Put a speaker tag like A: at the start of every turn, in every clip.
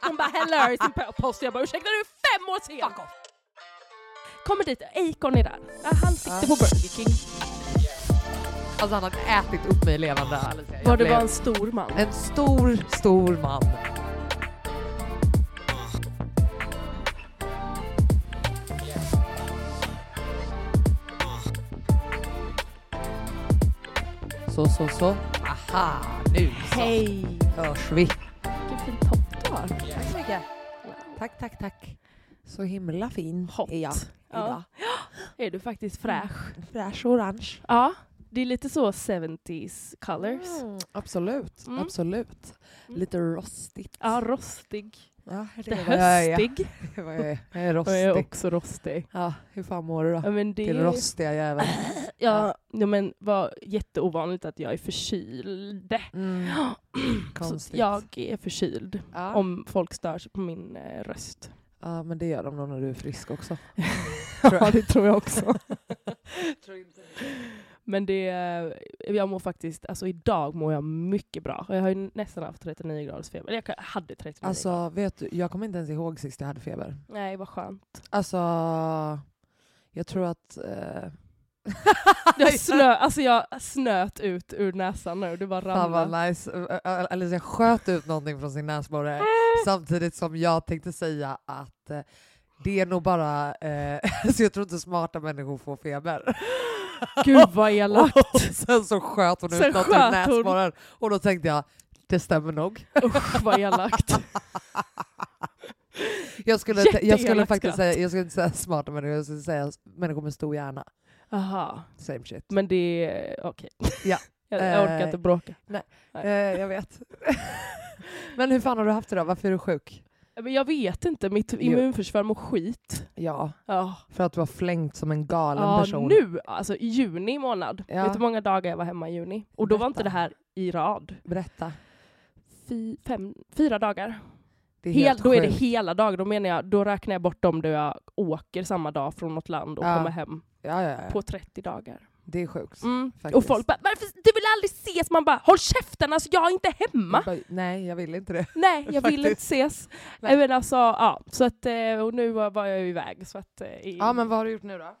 A: Hon bara hello i sin post och jag bara ursäkta du är fem år sen! Fuck off! Kommer dit, Acon är där. Ja, Han sitter på Burger King.
B: Alltså han har ätit upp mig levande. Alicia. Jag
A: Var det
B: blev
A: var en stor man.
B: en stor, stor man. Så, så, så. Aha, nu så.
A: Hej!
B: hörs vi.
A: Vilken fin topp du har.
B: Tack så mycket. Tack, tack, tack. Så himla fin
A: Hot.
B: är jag idag.
A: Ja. Är du faktiskt fräsch?
B: Fräsch och orange.
A: Ja. Det är lite så 70s colors.
B: Absolut,
A: Mm.
B: absolut.
A: Mm.
B: Lite rostigt.
A: Ja, rostig.
B: Ja, det
A: Det
B: är vad jag är.
A: höstig.
B: Det är vad jag är. Jag är
A: Jag är
B: rostig.
A: också rostig.
B: Ja, hur fan mår du då?
A: Ja, men det
B: Din
A: är
B: rostiga jävel.
A: Ja, ja men var jätteovanligt att jag är förkyld.
B: Mm.
A: Så
B: Konstigt.
A: jag är förkyld.
B: Ja.
A: Om folk stör sig på min eh, röst.
B: ja, men det gör de nog när du är frisk också.
A: ja, det tror jag också. Men det, eh, jag mår faktiskt, alltså idag mår jag mycket bra. Och Jag har ju nästan haft 39 graders feber. Eller Jag hade 39 grader.
B: Alltså, vet du, jag kommer inte ens ihåg sist jag hade feber.
A: Nej, vad skönt.
B: Alltså, jag tror att... Eh,
A: Jag, snö, alltså jag snöt ut ur näsan nu. Det bara
B: Fan vad
A: ramlade.
B: nice. Ä- ä- Alicia sköt ut någonting från sin näsborre samtidigt som jag tänkte säga att eh, det är nog bara, eh, så jag tror inte smarta människor får feber.
A: Gud vad elakt.
B: Och sen så sköt hon
A: Sen
B: ut något ur
A: sköt
B: näsborren och då tänkte jag, det stämmer nog.
A: Usch vad elakt.
B: Jag skulle, t- jag skulle
A: Jätteelakt
B: faktiskt
A: skratt.
B: säga, jag skulle inte säga smarta människor, jag skulle säga människor med stor hjärna.
A: Aha.
B: Same shit.
A: Men det är okej.
B: Ja.
A: jag, jag orkar
B: Eh,
A: inte bråka.
B: Eh, jag vet. Men hur fan har du haft det då? Varför är du sjuk?
A: Men jag vet inte, mitt immunförsvar mår skit.
B: Ja,
A: Ja,
B: för att du har flängt som en galen
A: ja ah,
B: person.
A: nu alltså i juni månad.
B: Ja.
A: Vet du hur många dagar jag var hemma i juni? Och då var
B: Berätta.
A: inte det här i rad.
B: Berätta.
A: Fy, fem, fyra dagar.
B: Det är
A: Hel, då är det
B: sjukt.
A: hela dagar. Då menar jag, då räknar jag bort dem då jag åker samma dag från något land och
B: Ja.
A: kommer hem
B: Ja, ja, ja.
A: på 30 dagar.
B: Det är sjukt.
A: Mm.
B: faktiskt.
A: Och folk bara “varför, du vill aldrig ses?” Man bara “håll käften, alltså jag är inte hemma!”
B: Jag bara, Nej, jag vill inte det.
A: Nej, jag vill
B: Faktiskt.
A: inte ses. Nej.
B: Nej.
A: Men alltså, ja. Så att, eh, och nu var var jag ju iväg. Så att, eh, i-
B: Ja, men vad har du gjort nu då?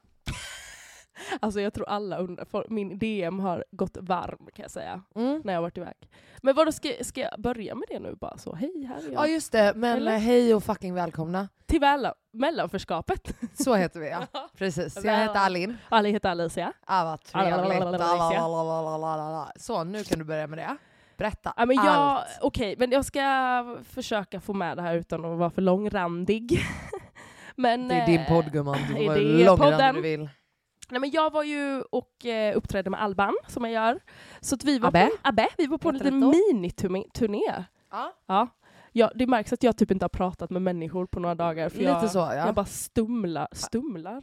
A: Alltså jag tror alla undrar, för min DM har gått varm kan jag säga,
B: Mm.
A: när jag varit iväg. Men vadå, ska, ska jag börja med det nu bara så? Hej, här är
B: Ja,
A: jag.
B: just det. Men
A: Eller?
B: eh, hej och fucking välkomna.
A: Till väl, mellanförskapet.
B: Så heter vi ja. Precis. Jag heter Alin.
A: Alla heter Alicia.
B: Ah, vad trevligt.
A: Alalalalalalalala.
B: Alalalalala. Så, nu kan du börja med det. Berätta
A: Ja, men jag,
B: allt.
A: Okej, men jag ska försöka få med det här utan att vara för långrandig. men,
B: Det är din
A: eh,
B: podd gumman, du
A: är
B: får vara
A: det
B: hur långrandig
A: podden?
B: du vill.
A: Nej, men jag var ju och eh, uppträdde med Alban, som jag gör. Så att vi var
B: Abbe?
A: på, Abbe, vi var på en
B: Heter
A: liten
B: det då?
A: miniturné.
B: Ja.
A: Ja. Ja, det märks att jag typ inte har pratat med människor på några dagar. För
B: Lite
A: jag,
B: så ja.
A: Jag bara stumlar. Stumlar?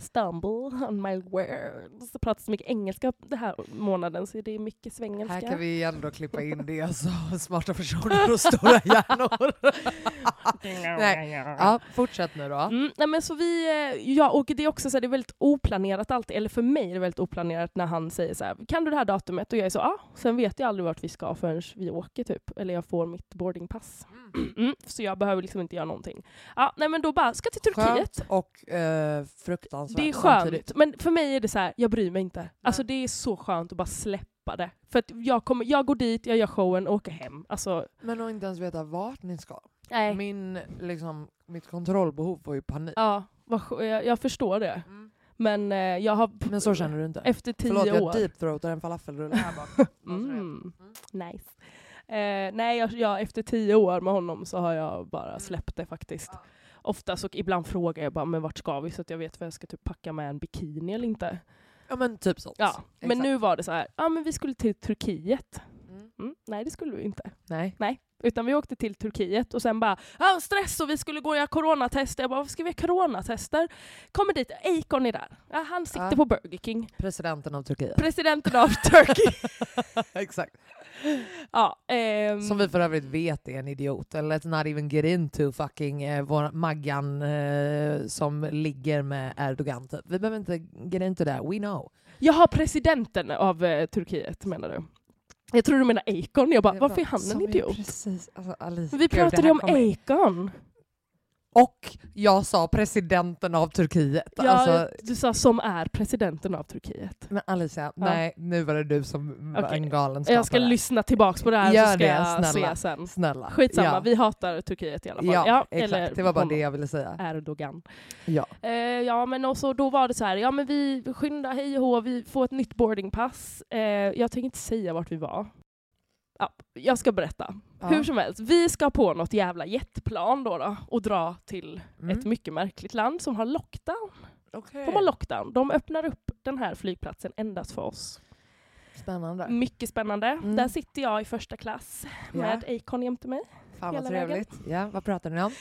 A: stumble on my words. Jag pratar så mycket engelska den här månaden så det är mycket svängelska.
B: Här kan vi ändå klippa in det, alltså smarta personer och stora hjärnor. Nej. Ja, fortsätt nu då.
A: Mm, nej men så vi, eh, ja, och det är också så här, det är väldigt oplanerat alltid, eller för mig är det väldigt oplanerat när han säger så här, kan du det här datumet? Och jag är så, ja. Ah. Sen vet jag aldrig vart vi ska förrän vi åker typ, eller jag får mitt boardingpass. Mm, så jag behöver liksom inte göra någonting. Ja, nej men då bara, ska till Turkiet.
B: Skönt och eh, fruktansvärt
A: Det är
B: samtidigt.
A: skönt, men för mig är det så här, jag bryr mig inte. Alltså det är så skönt att bara släppa det. För att jag, kommer, jag går dit, jag gör showen och åker hem. Alltså,
B: Men att inte ens veta vart ni ska.
A: nej.
B: Min, liksom, mitt kontrollbehov var ju panik.
A: Ja, vad, skö- jag, jag förstår det.
B: Mm.
A: Men eh, jag har...
B: Men så känner du inte?
A: Efter tio
B: Förlåt,
A: år.
B: jag deepthroatar en falafelrulle här bak.
A: Mm. Nice. Eh, nej, jag, jag, efter tio år med honom så har jag
B: Mm.
A: bara släppt det faktiskt. Ofta så ibland frågar jag bara, men vart ska vi? Så att jag vet vad jag ska typ packa med en bikini eller inte.
B: Ja men typ sånt.
A: Ja, men
B: Exakt.
A: nu var det så här, ja men vi skulle till Turkiet.
B: Mm.
A: Mm, nej, det skulle vi inte.
B: Nej.
A: Utan vi åkte till Turkiet och sen bara ah, stress och vi skulle gå och göra coronatester. Jag bara varför ska vi göra coronatester? Kommer dit, Akon är där. Ja, han sitter
B: Ja.
A: på Burger King.
B: Presidenten av Turkiet.
A: Presidenten av Turkey.
B: Exakt.
A: ja, ehm,
B: Som vi för övrigt vet är en idiot. Eller let's not even get into fucking eh, vår Maggan eh, som ligger med Erdogan typ. Vi behöver inte get into that, we know.
A: Jag har presidenten av eh, Turkiet menar du? Jag tror du menar Akon. Jag bara, varför är han en
B: Som
A: idiot?
B: Precis, alltså, Alice,
A: Men Vi
B: gud, det
A: pratade
B: här
A: ju om
B: kommer-
A: Akon.
B: Och jag sa presidenten av Turkiet.
A: Ja,
B: Alltså,
A: Du sa som är presidenten av Turkiet.
B: men Alicia, nej nu var det du som var
A: Okej.
B: en galen
A: Jag ska
B: skapare.
A: lyssna tillbaks på det här
B: Gör
A: så ska
B: det,
A: jag
B: snälla.
A: se sen.
B: Snälla.
A: Skitsamma,
B: ja.
A: vi hatar Turkiet i alla fall.
B: Ja, exakt.
A: eller
B: det var bara
A: honom. Äh.
B: det jag ville säga.
A: Erdogan.
B: Ja.
A: Eh, ja men och så, då var det så här, ja men vi skynda hej och hå, vi får ett nytt boardingpass. Eh, jag tänker inte säga vart vi var. Ja, jag ska berätta.
B: Ja.
A: Hur som helst, vi ska på något jävla jetplan då, då och dra till
B: Mm.
A: ett mycket märkligt land som har lockdown.
B: okay.
A: De har lockdown. De öppnar upp den här flygplatsen endast för oss.
B: Spännande.
A: Mycket spännande.
B: Mm.
A: Där sitter jag i första klass
B: Ja.
A: med Acon jämte mig.
B: Fan vad
A: hela vägen.
B: trevligt. Ja, vad pratar ni om?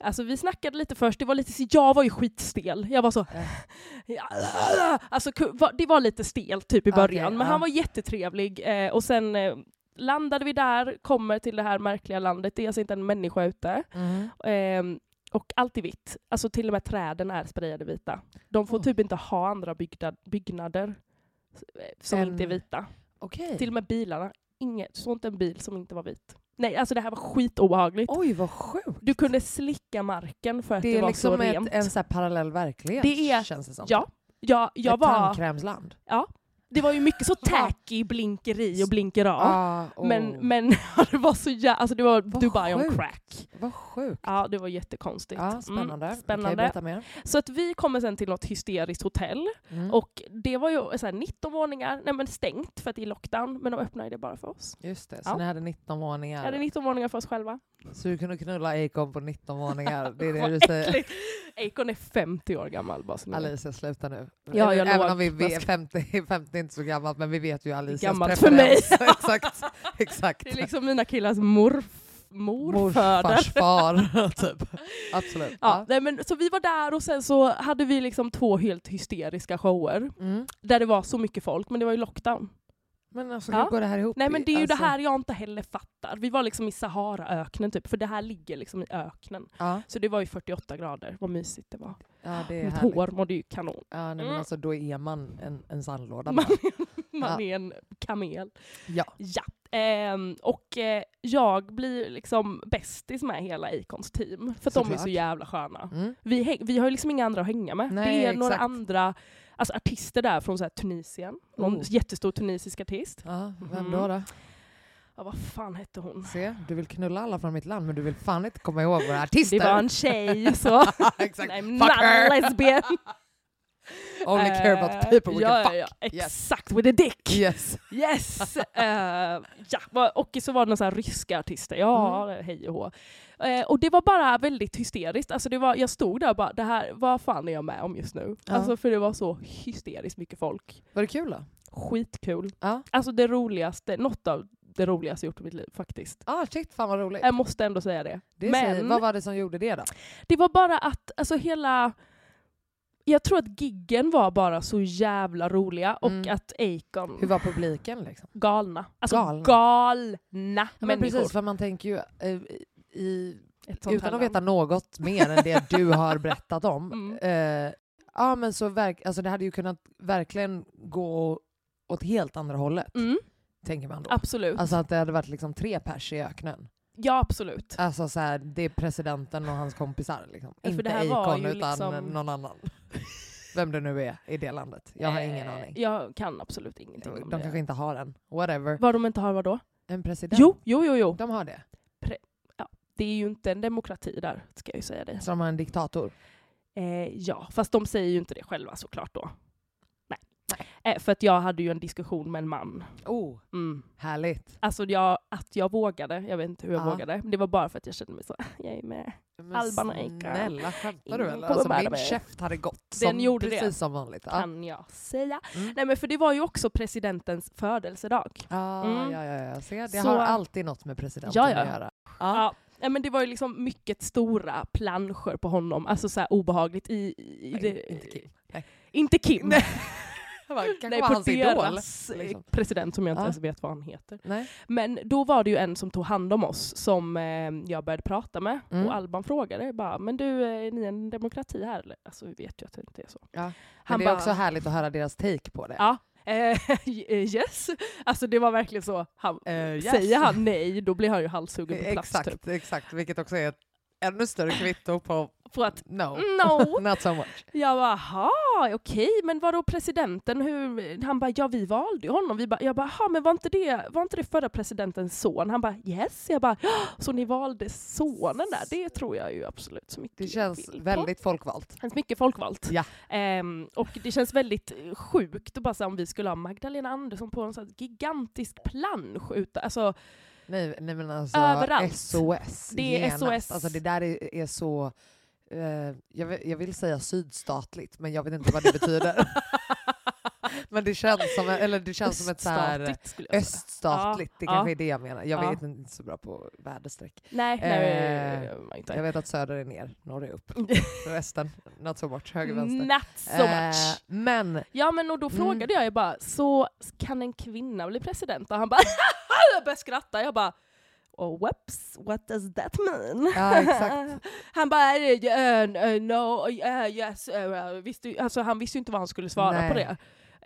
A: Alltså vi snackade lite först, det var lite, jag var ju skitstel. Jag var så... alltså, ku- va- det var lite stel typ i
B: Okej,
A: början, men
B: ja.
A: han var jättetrevlig. Eh, och sen eh, landade vi där, kommer till det här märkliga landet, det är alltså inte en människa ute. Ehm, och allt är vitt. Alltså till och med träden är sprayade vita. De får
B: Oj.
A: typ inte ha andra byggda- byggnader eh, som
B: Än-
A: inte är vita.
B: Okej.
A: Till och med bilarna. Inget, så inte en bil som inte var vit. Nej, alltså det här var skitobehagligt.
B: Oj vad sjukt.
A: Du kunde slicka marken för att det,
B: Det är
A: var så
B: liksom
A: rent.
B: ett, en så här parallell verklighet
A: Det är-
B: känns det som.
A: Ja, jag, jag
B: ett
A: var...
B: tandkrämsland.
A: Det var ju mycket så tacky blinkeri och blinkera.
B: Ah, oh.
A: Men, men det var så jävla... Alltså det var Dubai
B: sjukt.
A: on crack.
B: Vad sjukt.
A: Ja, det var jättekonstigt.
B: Ja, spännande.
A: Mm,
B: Kan jag
A: spännande.
B: berätta mer?
A: Så att vi kommer sen till något hysteriskt hotell
B: Mm.
A: och det var ju så här 19 våningar, nej men stängt för att det är lockdown, men de öppnade det bara för oss.
B: Just det, så
A: Ja.
B: ni hade 19
A: Jag
B: våningar.
A: hade 19 våningar för oss själva.
B: Så du kunde knulla Acon på 19 våningar. Det är det
A: Vad
B: du säger.
A: äckligt. Acon är 50 år gammal bara så ni vet.
B: Alicia, sluta nu.
A: Ja, jag
B: Även
A: låg.
B: om vi
A: Jag
B: vet,
A: ska-
B: 50, 50 är inte så gammalt, men vi vet ju Alicias
A: Gammalt för mig.
B: preferens. exakt. exakt.
A: Det är liksom mina killars morf, morföder.
B: Morfars far, typ. Absolut.
A: Ja, nej men, så vi var där och sen så hade vi liksom två helt hysteriska shower
B: Mm.
A: där det var så mycket folk, men det var ju lockdown.
B: Men alltså,
A: Ja.
B: hur går det här ihop?
A: Nej men det är ju
B: Alltså,
A: det här jag inte heller fattar. Vi var liksom i Saharaöknen typ, för det här ligger liksom i öknen.
B: Ja,
A: Så det var ju 48 grader, vad mysigt det var.
B: ja det är
A: Mitt
B: härligt.
A: hår mådde ju kanon.
B: Ja, nej, men
A: Mm.
B: alltså, då är man en, en sandlåda.
A: Man,
B: bara.
A: man
B: Ja.
A: är en kamel.
B: Ja.
A: Ja. Ehm, och eh, jag blir liksom bästis med hela Acons team. För att de är
B: Såklart.
A: så jävla sköna.
B: Mm.
A: Vi, häng, vi har ju liksom inga andra att hänga med.
B: Nej,
A: det är
B: exakt.
A: några andra alltså, artister där från så här, Tunisien. Någon
B: Oh.
A: jättestor tunisisk artist.
B: Ja, vem
A: Mm.
B: då då?
A: Ja, vad fan hette hon?
B: Se, du vill knulla alla från mitt land men du vill fan inte komma ihåg våra artister.
A: Det var en tjej så.
B: Exakt.
A: I'm
B: Fuck
A: not
B: her!
A: a lesbian.
B: Only care about the people we
A: ja,
B: can fuck.
A: Eh, ja, ja.
B: Yes.
A: Exakt, with a dick.
B: Yes.
A: Yes! Eh, ja. va- Och så var det några så här ryska artister, ja
B: Mm.
A: hej och hå. Eh, och det var bara väldigt hysteriskt, alltså det var, jag stod där och bara, det här, vad fan är jag med om just nu?
B: Ja.
A: Alltså för det var så hysteriskt mycket folk.
B: Var det kul då?
A: Skitkul.
B: Ja.
A: Alltså det roligaste, något av det roligaste jag gjort i mitt liv faktiskt.
B: Ah, shit, fan vad roligt.
A: Jag måste ändå säga det.
B: det
A: men-
B: säger, vad var det som gjorde det då?
A: Det var bara att, alltså hela jag tror att giggen var bara så jävla roliga och
B: Mm.
A: att Acon
B: Hur var publiken liksom?
A: galna. Alltså galna,
B: Galna. Ja, men
A: människor.
B: precis, för man tänker ju eh, i,
A: Ett sånt här
B: utan att
A: land.
B: veta något mer än det du har berättat om.
A: Mm.
B: Eh, ja, men så verk, alltså, det hade ju kunnat verkligen gå åt helt andra hållet,
A: Mm,
B: tänker man då.
A: absolut.
B: Alltså att det hade varit liksom tre pers i öknen.
A: ja, absolut.
B: Alltså så här, det är presidenten och hans kompisar. Liksom.
A: Ja, för
B: Inte
A: det här var
B: Akon
A: ju
B: utan
A: liksom-
B: någon annan. Vem det nu är i det landet. Jag har ingen
A: Eh,
B: aning.
A: Jag kan absolut ingenting om
B: De
A: det.
B: kanske inte har en. Whatever.
A: Vad de inte har, vadå?
B: En president.
A: Jo, jo, jo, jo.
B: De har det.
A: Det är ju inte en demokrati där, ska jag ju säga det.
B: Så de har en diktator.
A: Eh, ja, fast de säger ju inte det själva såklart då. Nej. Eh, för att jag hade ju en diskussion med en man.
B: Oh,
A: Mm.
B: härligt.
A: Alltså jag, att jag vågade, jag vet inte hur jag
B: Ja.
A: vågade, men det var bara för att jag kände mig så, jag är med.
B: Men
A: Alban och Akon.
B: Snälla, skämtar du
A: Ingen
B: eller?
A: Mm, kommer
B: Alltså,
A: bära
B: min
A: mig.
B: käft hade gått.
A: Den
B: Som,
A: gjorde det.
B: precis som vanligt. Ja.
A: Kan jag säga.
B: Mm.
A: Nej men för det var ju också presidentens födelsedag.
B: Ah,
A: Mm.
B: ja, ja, ja. Se, det
A: Så-
B: har alltid något med presidenten
A: Ja, ja.
B: att göra.
A: Ja. Nej, men det var ju liksom mycket stora planscher på honom, alltså så här obehagligt i... i
B: Nej,
A: det,
B: inte Kim. Nej.
A: Inte Kim.
B: Nej. Kanske
A: Nej,
B: var
A: på
B: hans idol.
A: deras eh,
B: liksom.
A: president som jag inte
B: Ja.
A: ens vet vad han heter.
B: Nej.
A: Men då var det ju en som tog hand om oss som eh, jag började prata med.
B: Mm.
A: Och Alban frågade bara, men du, eh, är ni en demokrati här eller? Alltså vi vet ju att det inte är så.
B: Ja. Men
A: Han
B: det är
A: bara,
B: också härligt att höra deras take på det.
A: ja, eh, yes. Alltså det var verkligen så, han,
B: Eh, yes.
A: säger han nej då blir han ju halshuggen på plats
B: Exakt,
A: typ.
B: exakt, vilket också är ett ännu större kvitto på
A: För att,
B: no.
A: no.
B: Not so much.
A: Jag bara, aha, okej, men vadå presidenten? Hur? Han bara, ja vi valde ju honom. Vi bara, jag bara, aha, men var inte, det, var inte det förra presidentens son? Han bara, yes. Jag bara, "Ja, så ni valde sonen där? Det tror jag ju absolut så mycket
B: Det
A: jag
B: känns
A: vill på."
B: väldigt folkvalt.
A: Det känns mycket folkvalt.
B: Ja.
A: Ehm, och det känns väldigt eh, sjukt att bara säga om vi skulle ha Magdalena Andersson på en sån här gigantisk plansch. Utan, alltså,
B: Nej, nej men alltså
A: Överallt.
B: SOS.
A: Det är
B: genast.
A: SOS.
B: Alltså det där är, är så, eh, jag, vill, jag vill säga sydstatligt men jag vet inte vad det betyder. men det känns som, eller det känns som ett så här
A: öststatligt skulle jag säga.
B: öststatligt, det
A: Ja,
B: kanske
A: ja.
B: är det jag menar. Jag
A: Ja.
B: vet inte så bra på väderstreck.
A: Nej, nej, nej,
B: Eh,
A: nej,
B: Jag
A: nej,
B: vet att söder är ner, norr är upp.
A: nej.
B: Resten, not so much, höger vänster.
A: Not so much.
B: Eh, men
A: Ja men och då
B: Mm.
A: frågade jag, jag bara, så kan en kvinna bli president? Och han bara, jag började skratta. Jag bara, oh, whoops, what does that mean?
B: Ja, exakt.
A: han bara, uh, no, eh, yes, eh, visste, ju- alltså, han visste ju inte vad han skulle svara på
B: Nej.
A: det.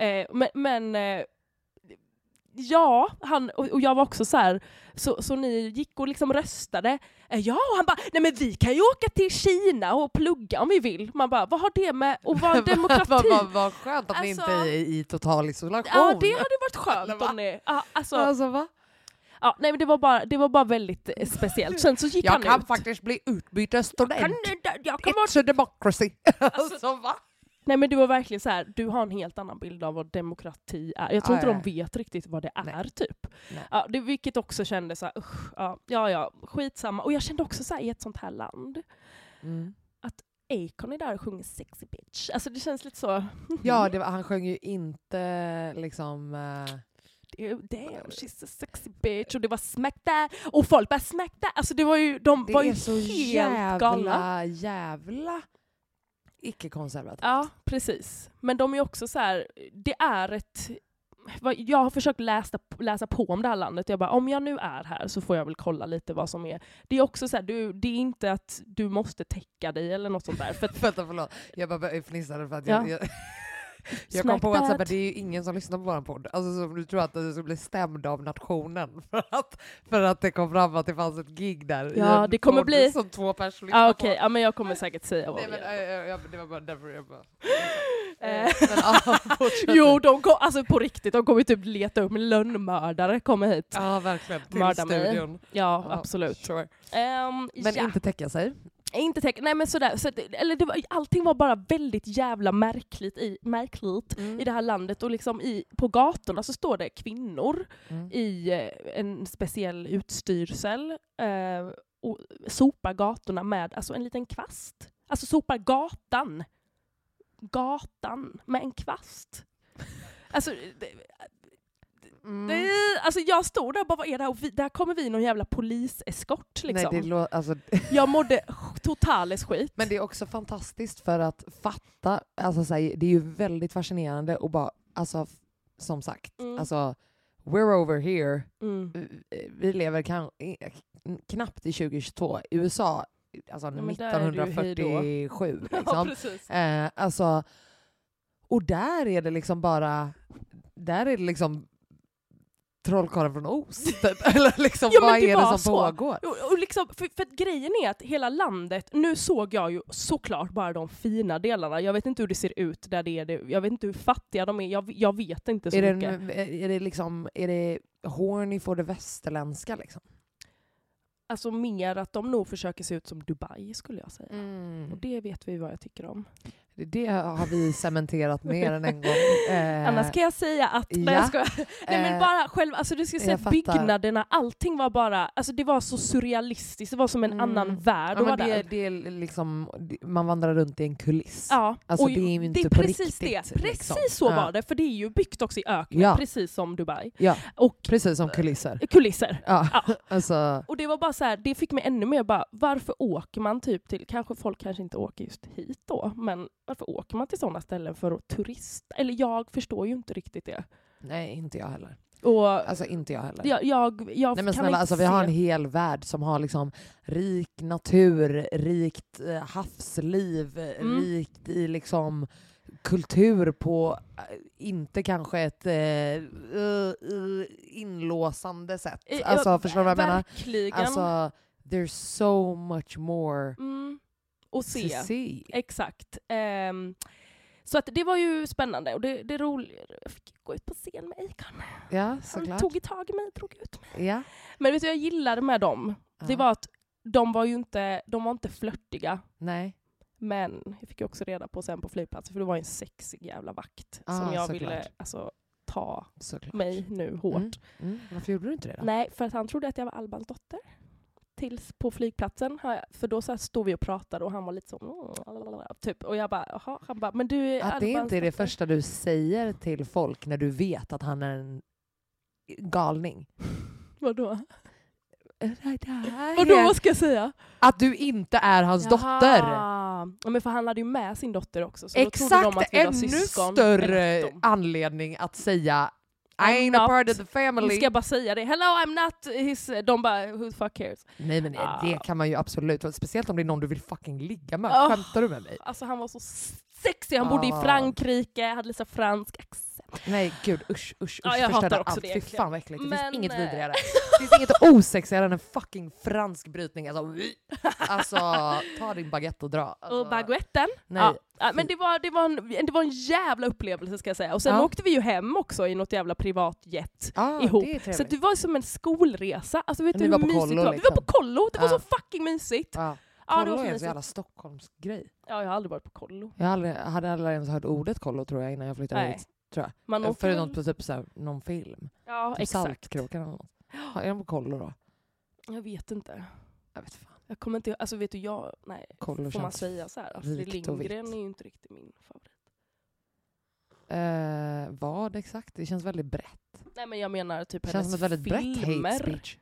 A: Eh, men, men eh, Ja, han, och och jag var också så här. Så, så ni gick och liksom röstade? Eh, Ja, och han bara, nej men vi kan ju åka till Kina och plugga om vi vill. Man bara, vad har det med att vara demokrati?
B: vad, vad, vad skönt att ni
A: Alltså-
B: inte är i total isolation.
A: Ja, det hade varit skönt om ni... Ja, alltså,
B: Alltså, va?
A: ja, nej, men det, var bara, det var bara väldigt eh, speciellt. Sen så gick
B: Jag
A: han
B: kan
A: ut.
B: faktiskt bli utbytesstudent.
A: Kan inte- jag kan
B: It's
A: vara...
B: a democracy. Alltså, va?
A: Nej men det var verkligen så här. du har en helt annan bild av vad demokrati är. Jag tror
B: Ja,
A: inte
B: ja,
A: de vet riktigt vad det är
B: Nej.
A: typ.
B: Nej.
A: Ja, det, vilket också kändes så här, usch, ja, ja ja, skitsamma. Och jag kände också så här, i ett sånt här land,
B: Mm.
A: Akon är där och sjunger sexy bitch. Alltså det känns lite så,
B: Ja, det var, han sjöng ju inte liksom... eh,
A: damn she's a sexy bitch. Och det var smack that, och folk bara smack that. Alltså det var ju, de
B: det
A: var
B: är
A: ju
B: så
A: helt
B: jävla,
A: galna.
B: jävla icke-konservativt.
A: Ja, precis. Men de är också så här, det är ett... vad- Jag har försökt läsa, läsa på om det här landet, jag bara om jag nu är här så får jag väl kolla lite vad som är. Det är också så här, du, det är inte att du måste täcka dig eller något sånt där. För att,
B: Vänta, förlåt. Jag bara fnissade för att
A: Ja.
B: jag... jag Jag kom
A: Smack
B: på WhatsApp
A: that.
B: att det är ju ingen som lyssnar på vår podd. Alltså så du tror att du skulle bli stämd av nationen för att, för att det kom fram att det fanns ett gig där. i
A: Ja,
B: en
A: det kommer
B: podd
A: bli-
B: Som två personer
A: ja
B: lyssnar
A: Ah, okej,
B: på.
A: ja, men jag kommer säkert säga vad
B: Nej,
A: vi
B: men,
A: gör.
B: äh, äh, jag- det var bara därför jag bara...
A: Eh.
B: Eh, men, ja, fortsätt.
A: Jo, de kom, alltså på riktigt, de kommer typ leta upp lönnmördare, kommer hit.
B: Ja, verkligen. Till
A: Mörda mig.
B: studion.
A: Ja,
B: Ja,
A: absolut.
B: Sure.
A: Ehm,
B: Men
A: ja.
B: inte täcka sig.
A: Inte tecken, nej men sådär. Så, att- eller det var, allting var bara väldigt jävla märkligt i, märkligt
B: Mm.
A: i det här landet. Och liksom i, på gatorna så står det kvinnor
B: Mm.
A: i eh, en speciell utstyrsel eh, och sopar gatorna med alltså en liten kvast. Alltså sopar gatan. Gatan med en kvast. Alltså, det, det,
B: Mm.
A: det, Alltså jag stod där och bara, vad är det här? Och vi, där kommer vi någon jävla poliseskort liksom.
B: Nej, det lå- alltså,
A: Jag mådde sch- totales skit.
B: men det är också fantastiskt för att fatta, alltså, så här, det är ju väldigt fascinerande och bara, alltså f- som sagt,
A: Mm.
B: alltså we're over here,
A: Mm.
B: vi lever kan, i- knappt i 2022, USA, alltså
A: Ja, men där är du hej då.
B: 1947
A: Ja,
B: liksom.
A: precis.
B: Eh, alltså, och där är det liksom bara, där är det liksom trollkarlen från Oz. Typ. Eller liksom,
A: Jo, men
B: vad
A: det
B: är
A: var
B: det som
A: så.
B: pågår?
A: Och, och liksom, för, för att grejen är att hela landet, nu såg jag ju såklart bara de fina delarna. Jag vet inte hur det ser ut där det är det. Jag vet inte hur fattiga de är. Jag, jag vet inte så
B: Är det,
A: mycket.
B: en- är det liksom, är det horny för det västerländska liksom?
A: Alltså mer att de nog försöker se ut som Dubai skulle jag säga.
B: Mm.
A: Och det vet vi vad jag tycker om.
B: Det, det har vi cementerat mer än en gång. Eh,
A: Annars kan jag säga att... Nej,
B: ja.
A: jag skojar. Nej men
B: eh,
A: bara själv, alltså du ska
B: jag
A: säga
B: fattar.
A: byggnaderna, allting var bara, alltså det var så surrealistiskt, det var som en
B: Mm.
A: annan värld
B: ja,
A: att
B: men
A: vara
B: det,
A: där.
B: det är liksom, det- man vandrar runt i en kuliss.
A: Ja,
B: Alltså,
A: och
B: det är ju inte
A: det är
B: på
A: precis det.
B: riktigt,
A: Precis
B: liksom.
A: så
B: Ja.
A: var det, för det är ju byggt också i öknen,
B: Ja.
A: precis som Dubai.
B: Ja,
A: Och
B: precis som kulisser.
A: kulisser.
B: Ja,
A: Ja.
B: alltså,
A: Och det var bara så här, det fick mig ännu mer bara, varför åker man typ till, kanske folk kanske inte åker just hit då, men varför åker man till sådana ställen för att turista? Eller jag förstår ju inte riktigt det.
B: nej inte jag heller.
A: Och
B: Alltså inte jag heller.
A: jag, jag, jag
B: Nej men
A: kan
B: snälla,
A: inte
B: alltså,
A: se...
B: vi har en hel värld som har liksom rik natur, rikt eh, havsliv, eh,
A: Mm.
B: rikt i liksom kultur på, eh, inte kanske ett eh, eh, eh, inlåsande sätt.
A: Eh,
B: Alltså,
A: jag-
B: förstår du vad jag menar?
A: Verkligen.
B: Alltså, there's so much more
A: mm, och
B: to
A: se.
B: see.
A: Exakt. Ehm, så att det var ju spännande och det, det roliga, jag fick gå ut på scen med Akon.
B: Ja,
A: Han
B: såklart.
A: tog tag i mig, drog ut mig.
B: Ja.
A: Men vet du, jag gillade med dem, det
B: Ja.
A: var att de var ju inte, de var inte flörtiga.
B: Nej.
A: Men jag fick ju också reda på sen på flygplatsen, för det var ju en sexig jävla vakt
B: Ah,
A: som jag
B: såklart.
A: ville alltså, ta
B: Såklart.
A: mig nu hårt.
B: Mm. Mm. Varför gjorde du inte det då?
A: Nej, för att han trodde att jag var Albans dotter. Tills på flygplatsen, har jag- för då så här stod vi och pratade och han var lite så... "Mm, lalalala", Typ. Och jag bara, jaha. Han bara, men du är
B: Att Ah, det
A: Albans
B: inte är det
A: dotter."
B: första du säger till folk när du vet att han är en galning.
A: Vadå? Vadå,
B: Vadå?
A: vad ska jag säga?
B: Att du inte är hans dotter.
A: Jaha. Ja, men för han hade ju med sin dotter också. Så då trodde de
B: Exakt
A: att vi var
B: ännu
A: syskon.
B: större
A: Eller
B: anledning att säga I
A: I'm
B: ain't a
A: not-
B: part of the
A: de.
B: family.
A: Ska jag bara säga det? Hello I'm not his... De bara, who the fuck cares?
B: Nej men det
A: Ah.
B: kan man ju absolut, speciellt om det är någon du vill fucking ligga med.
A: Ah.
B: Skämtar du med mig?
A: Alltså han var så sexig, han bodde i
B: Ah.
A: Frankrike, hade lite så här fransk accent.
B: Nej gud usch usch usch.
A: Ja, jag
B: Förstörde
A: hatar också det
B: Fy
A: egentligen.
B: fan vad äckligt. Det
A: Men,
B: finns inget
A: eh,
B: vidrigare. Det finns inget osexigare än en fucking fransk brytning. Alltså, alltså ta din baguette och dra. Alltså,
A: Och baguetten.
B: Nej.
A: Ja. Ja, men det var, det, var en, det var en jävla upplevelse ska jag säga. Och sen
B: Ja.
A: åkte vi ju hem också i något jävla privatjet
B: Ah,
A: ihop.
B: Det är trevligt.
A: Så det var som en skolresa. Alltså vet
B: Men
A: du
B: ni
A: hur
B: var på
A: mysigt
B: kollo,
A: det var? Vi
B: liksom.
A: var på kollo, det var
B: Ja.
A: så fucking mysigt!
B: ja.
A: Ja, det
B: kollo
A: var så
B: är en så
A: mysigt.
B: jävla Stockholmsgrej.
A: Ja, jag har aldrig varit på kollo.
B: Jag aldrig, hade aldrig ens hört ordet kollo tror jag innan jag flyttade
A: Nej.
B: hit. Tror
A: Man
B: jag.
A: åker väl-
B: Förutom på typ såhär, någon film.
A: Ja,
B: Typ
A: exakt.
B: Saltkråkan eller något. Ja, Är de på kollo då?
A: Jag vet inte.
B: Jag vet fan.
A: Jag kommer inte... Alltså vet du, jag... Nej.
B: Kollo
A: Får man
B: känns...
A: säga så här? Astrid
B: rikt och vitt.
A: Lindgren är ju inte riktigt min favorit.
B: Eh, vad exakt? Det känns väldigt brett.
A: Nej men jag menar typ
B: Det känns
A: hennes
B: som ett väldigt brett hate
A: filmer.
B: speech.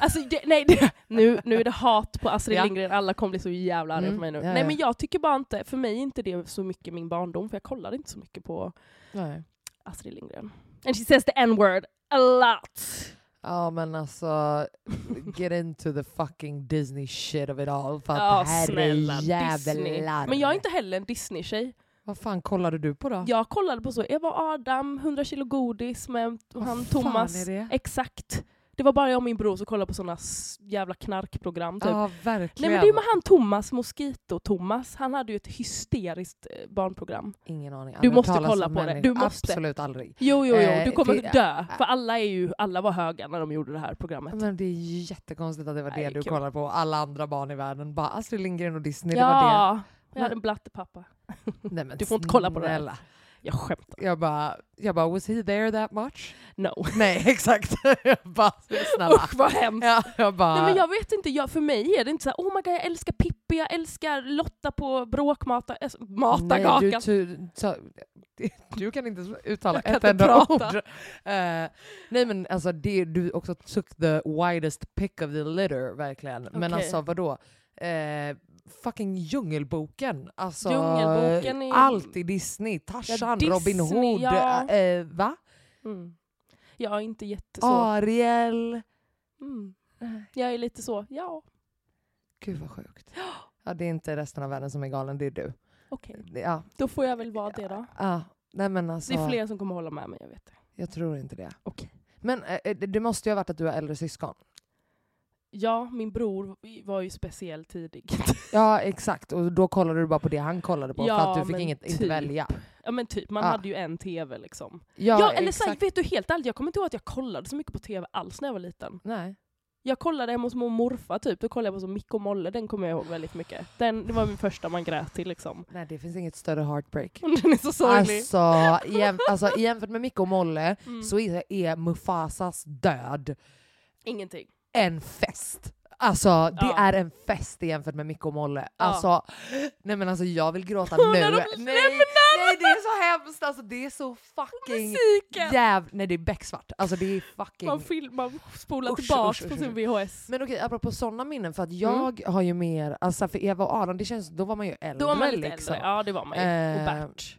A: Alltså, det, nej, det, nu, nu är det hat på Astrid
B: Ja.
A: Lindgren, alla kommer bli så jävla arga
B: Mm,
A: på mig nu.
B: ja,
A: Nej
B: ja.
A: men jag tycker bara inte, för mig är inte det så mycket min barndom, för jag kollade inte så mycket på
B: Nej.
A: Astrid Lindgren. And she says the n-word a lot.
B: Ja men alltså, get into the fucking Disney shit of it all. För
A: Ja,
B: att
A: snälla, Disney.
B: herrejävlar.
A: Men jag är inte typ. heller en Disney-tjej.
B: Vad fan kollade du på då?
A: Jag kollade på så Eva och Adam, 100 kilo godis med
B: Vad
A: han
B: fan
A: Thomas.
B: är det?
A: Exakt. Det var bara jag och min bror som kollade på såna s- jävla knarkprogram typ.
B: Ja
A: Nej
B: verkligen.
A: men det är ju med han Thomas, Mosquito-Thomas, han hade ju ett hysteriskt eh, barnprogram.
B: Ingen aning. Alltså,
A: Du
B: Aldrig
A: måste
B: talas
A: kolla
B: om
A: på det.
B: människor.
A: Du måste.
B: Absolut aldrig.
A: Jo, jo, jo,
B: Eh,
A: du kommer
B: det-
A: dö. För alla, är ju, alla var höga när de gjorde det här programmet.
B: Men det är ju jättekonstigt att det var
A: Nej,
B: det du
A: kul.
B: kollade på. Alla andra barn i världen bara Astrid Lindgren och Disney, det var det.
A: ja, jag hade en blattepappa.
B: Nej, men
A: Du får inte kolla på det här.
B: snälla.
A: Jag skämtar.
B: Jag bara, jag bara, was he there that much?
A: No.
B: Nej, exakt. Jag bara, snälla.
A: Usch vad hemskt.
B: Ja, jag bara,
A: Nej, men jag vet inte, jag, för mig är det inte så här, oh my god jag älskar Pippi, jag älskar Lotta på bråkmata, äh, äs- matagakan.
B: Nej, du, tu, ta, du kan inte uttala
A: Jag kan
B: ett
A: inte
B: enda
A: prata.
B: ord. Eh, nej men alltså det, du också took the widest pick of the litter verkligen. Men
A: Okej.
B: alltså vadå? Eh, fucking Djungelboken. Alltså,
A: Djungelboken är-
B: Allt i Disney. Tarzan,
A: Disney,
B: Robin Hood,
A: ja.
B: eh, va?
A: Mm. Jag är inte jätteså.
B: Ariel.
A: Mm. Jag är lite så, ja
B: Gud vad sjukt. Ja, det är inte resten av världen som är galen, det är du.
A: okej.
B: Ja,
A: Då får jag väl vara det då.
B: ja. Nej men alltså,
A: Det är fler som kommer hålla med mig, jag vet det.
B: jag tror inte det.
A: Okej.
B: Men eh, det det måste ju ha varit att du har äldre syskon.
A: Ja, min bror var ju speciell tidig.
B: Ja exakt, och då kollade du bara på det han kollade på
A: Ja,
B: för att du fick
A: men
B: inget, inte
A: typ.
B: välja.
A: ja men typ, man
B: Ja.
A: hade ju en TV liksom.
B: Ja,
A: Ja, eller så här,
B: exakt.
A: vet du helt ärligt, jag kommer inte ihåg att jag kollade så mycket på TV alls när jag var liten.
B: Nej.
A: Jag kollade hemma hos mormor och morfar typ, då kollade jag på så Micke och Molle, den kommer jag ihåg väldigt mycket. Den, det var min första man grät till liksom.
B: Nej det finns inget större heartbreak.
A: Den är så Mm, sorglig.
B: Alltså, jäm, alltså jämfört med Micke och Molle
A: Mm.
B: så är, är Mufasas död
A: Ingenting.
B: en fest. Alltså det
A: Ja.
B: är en fest jämfört med Micke och Molle. Alltså, nej men alltså jag vill gråta nu.
A: Och när
B: nej,
A: de
B: nej det är så hemskt alltså, det är så fucking
A: Musiken!
B: jäv... Nej det är becksvart. Alltså det är fucking...
A: Man, film, man spolar
B: Usch, usch,
A: tillbaks
B: usch,
A: på
B: usch.
A: sin VHS.
B: Men okej, apropå sådana minnen, för att
A: Mm.
B: jag har ju mer, alltså för Eva och Adam, det känns, då var man ju äldre.
A: Då var man lite
B: liksom.
A: äldre, ja det var man ju. Och
B: Eh,
A: Bert.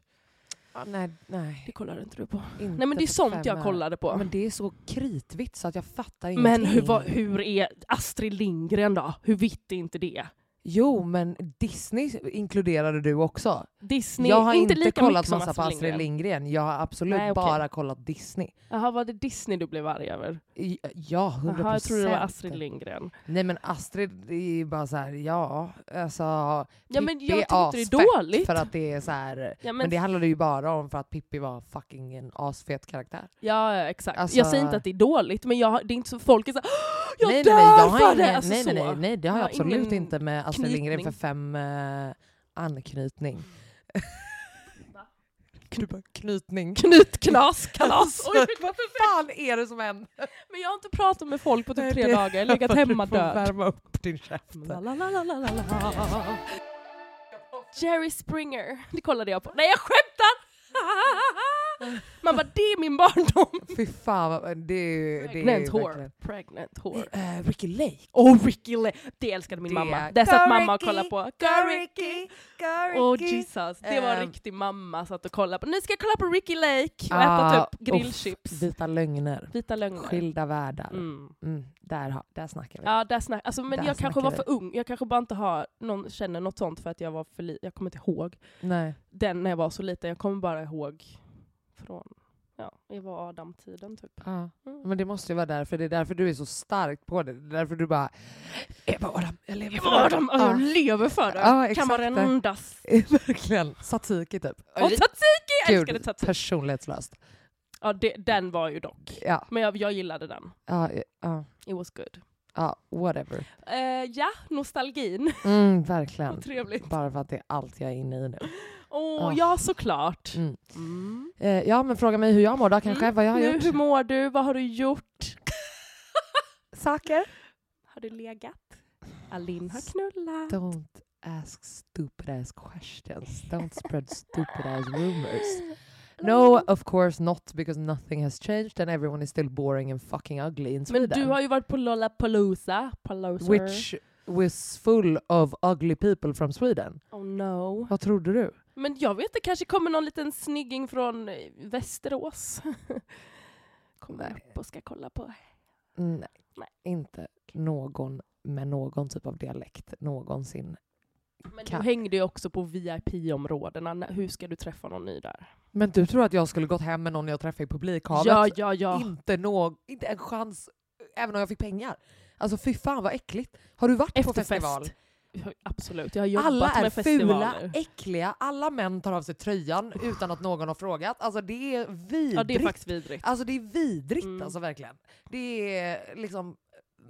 B: Ja, Nej, nej.
A: Det kollade inte du på.
B: Inte
A: Nej men det är
B: för
A: sånt
B: fem
A: jag
B: öre.
A: kollade på.
B: Men det är så kritvitt så att jag fattar ingenting.
A: Men hur, vad, hur är Astrid Lindgren då? Hur vitt är inte det?
B: Jo, men Disney inkluderade du också.
A: Disney,
B: jag har
A: inte,
B: inte,
A: lika mycket
B: kollat
A: som
B: massa på Astrid Lindgren. Jag har absolut
A: Nej, okej.
B: bara kollat Disney.
A: Jaha, var det Disney du blev arg över?
B: I- Ja, hundra procent.
A: Jaha, jag trodde det var Astrid Lindgren.
B: Nej men Astrid det är ju bara så här, ja, alltså...
A: Ja, men
B: Pippi
A: jag
B: är
A: tycker inte det är
B: asfett
A: dåligt.
B: För att det är så här,
A: Ja, men,
B: Men det handlade ju bara om för att Pippi var fucking en asfet karaktär.
A: ja, ja, exakt.
B: Alltså-
A: jag säger inte att det är dåligt, men jag, det är inte så folk är såhär "Åh, jag
B: nej,
A: dör
B: nej, nej, jag
A: för
B: har
A: det!
B: ingen-
A: Alltså,
B: nej, nej,
A: så.
B: nej, nej, det har
A: Jag
B: jag
A: har
B: absolut
A: ingen
B: inte med Astrid Lindgren för
A: knytning.
B: fem eh, anknytning. Du bara, knytning.
A: Knytknas, kalas! Oj,
B: Alltså, vad fan är det som händer?
A: men jag har inte pratat med folk på typ
B: Nej,
A: tre
B: det-
A: dagar, jag har legat
B: Du
A: hemma
B: får
A: död.
B: värma upp din käft.
A: La, la, la, la, la, la, la. Jerry Springer, det kollade jag på. Nej jag skämtar! Man bara det är min barndom!
B: Fy fan, vad- det är ju... Det är ju
A: Pregnant whore.
B: verkligen-
A: Pregnant whore.
B: Eh, Ricky Lake.
A: Och Ricky Le- Det älskade min
B: Det-
A: mamma. Det satt
B: Go
A: mamma och
B: Ricky,
A: kollade på.
B: go
A: Go Ricky! Åh
B: Go Ricky.
A: Jesus, det var
B: Ehm.
A: riktig mamma satt och kollade på. Nu ska jag kolla på Ricky Lake och
B: Ah,
A: äta typ
B: uff,
A: grillchips.
B: Vita lögner.
A: Vita lögner.
B: Skilda världar.
A: Mm.
B: Mm, där, har- där snackar vi.
A: Ja, där snack, alltså, men
B: Där
A: jag kanske
B: snackar
A: var
B: vi.
A: för ung, jag kanske bara inte har någon, känner något sånt för att jag var för liten, jag kommer inte ihåg
B: Nej.
A: den när jag var så liten, jag kommer bara ihåg från ja, Eva och Adam-tiden typ.
B: Ja.
A: Mm.
B: Men det måste ju vara därför. Det är därför du är så stark på det. Det är därför du bara Eva Adam, jag lever
A: Eva och Adam, ja. jag
B: Ja.
A: lever för det!
B: Ja,
A: kan
B: ah. exakt.
A: varenda
B: Verkligen. Satiki typ.
A: Och tzatziki! Jag
B: Gud,
A: älskade tzatziki.
B: personlighetslöst.
A: Ja, det, den var ju dock.
B: Ja,
A: Men jag, jag gillade den.
B: ja, ja,
A: It was good.
B: ja whatever.
A: Eh, ja, nostalgin.
B: Mm,
A: Vad
B: verkligen.
A: trevligt.
B: Bara för att det är allt jag är inne i nu.
A: Åh,
B: Ah.
A: ja såklart.
B: Mm.
A: Mm.
B: Eh, ja, men fråga mig hur jag mår då kanske.
A: Mm.
B: Vad jag har
A: nu,
B: gjort.
A: hur mår du? Vad har du gjort?
B: Saker.
A: Har du legat? Alin har knullat.
B: Don't ask stupid ass questions. Don't spread stupid ass rumors. No, of course not, because nothing has changed and everyone is still boring and fucking ugly in
A: Men
B: Sweden.
A: du har ju varit på Lollapalooza. Palooza.
B: Which was full of ugly people from Sweden.
A: Oh no.
B: Vad trodde du?
A: Men jag vet det kanske kommer någon liten snygging från eh, Västerås. kommer upp och ska kolla på.
B: Nej,
A: Nej.
B: inte någon med någon typ av dialekt någonsin.
A: Men du
B: Kan-
A: hängde ju också på VIP-områdena. Nä- Hur ska du träffa någon ny där?
B: Men du tror att jag skulle gått hem med någon jag träffade i publikhavet?
A: Ja, ja, ja.
B: Inte, nå- inte en chans, även om jag fick pengar. Alltså fy fan vad äckligt. Har du varit på festival?
A: Efterfest. Absolut, jag har jobbat
B: alla är
A: med
B: fula,
A: festivaler.
B: äckliga, alla män tar av sig tröjan utan att någon har frågat. Alltså det är vidrigt.
A: Ja, det är faktiskt vidrigt.
B: Alltså det är vidrigt
A: Mm.
B: alltså verkligen. Det är liksom,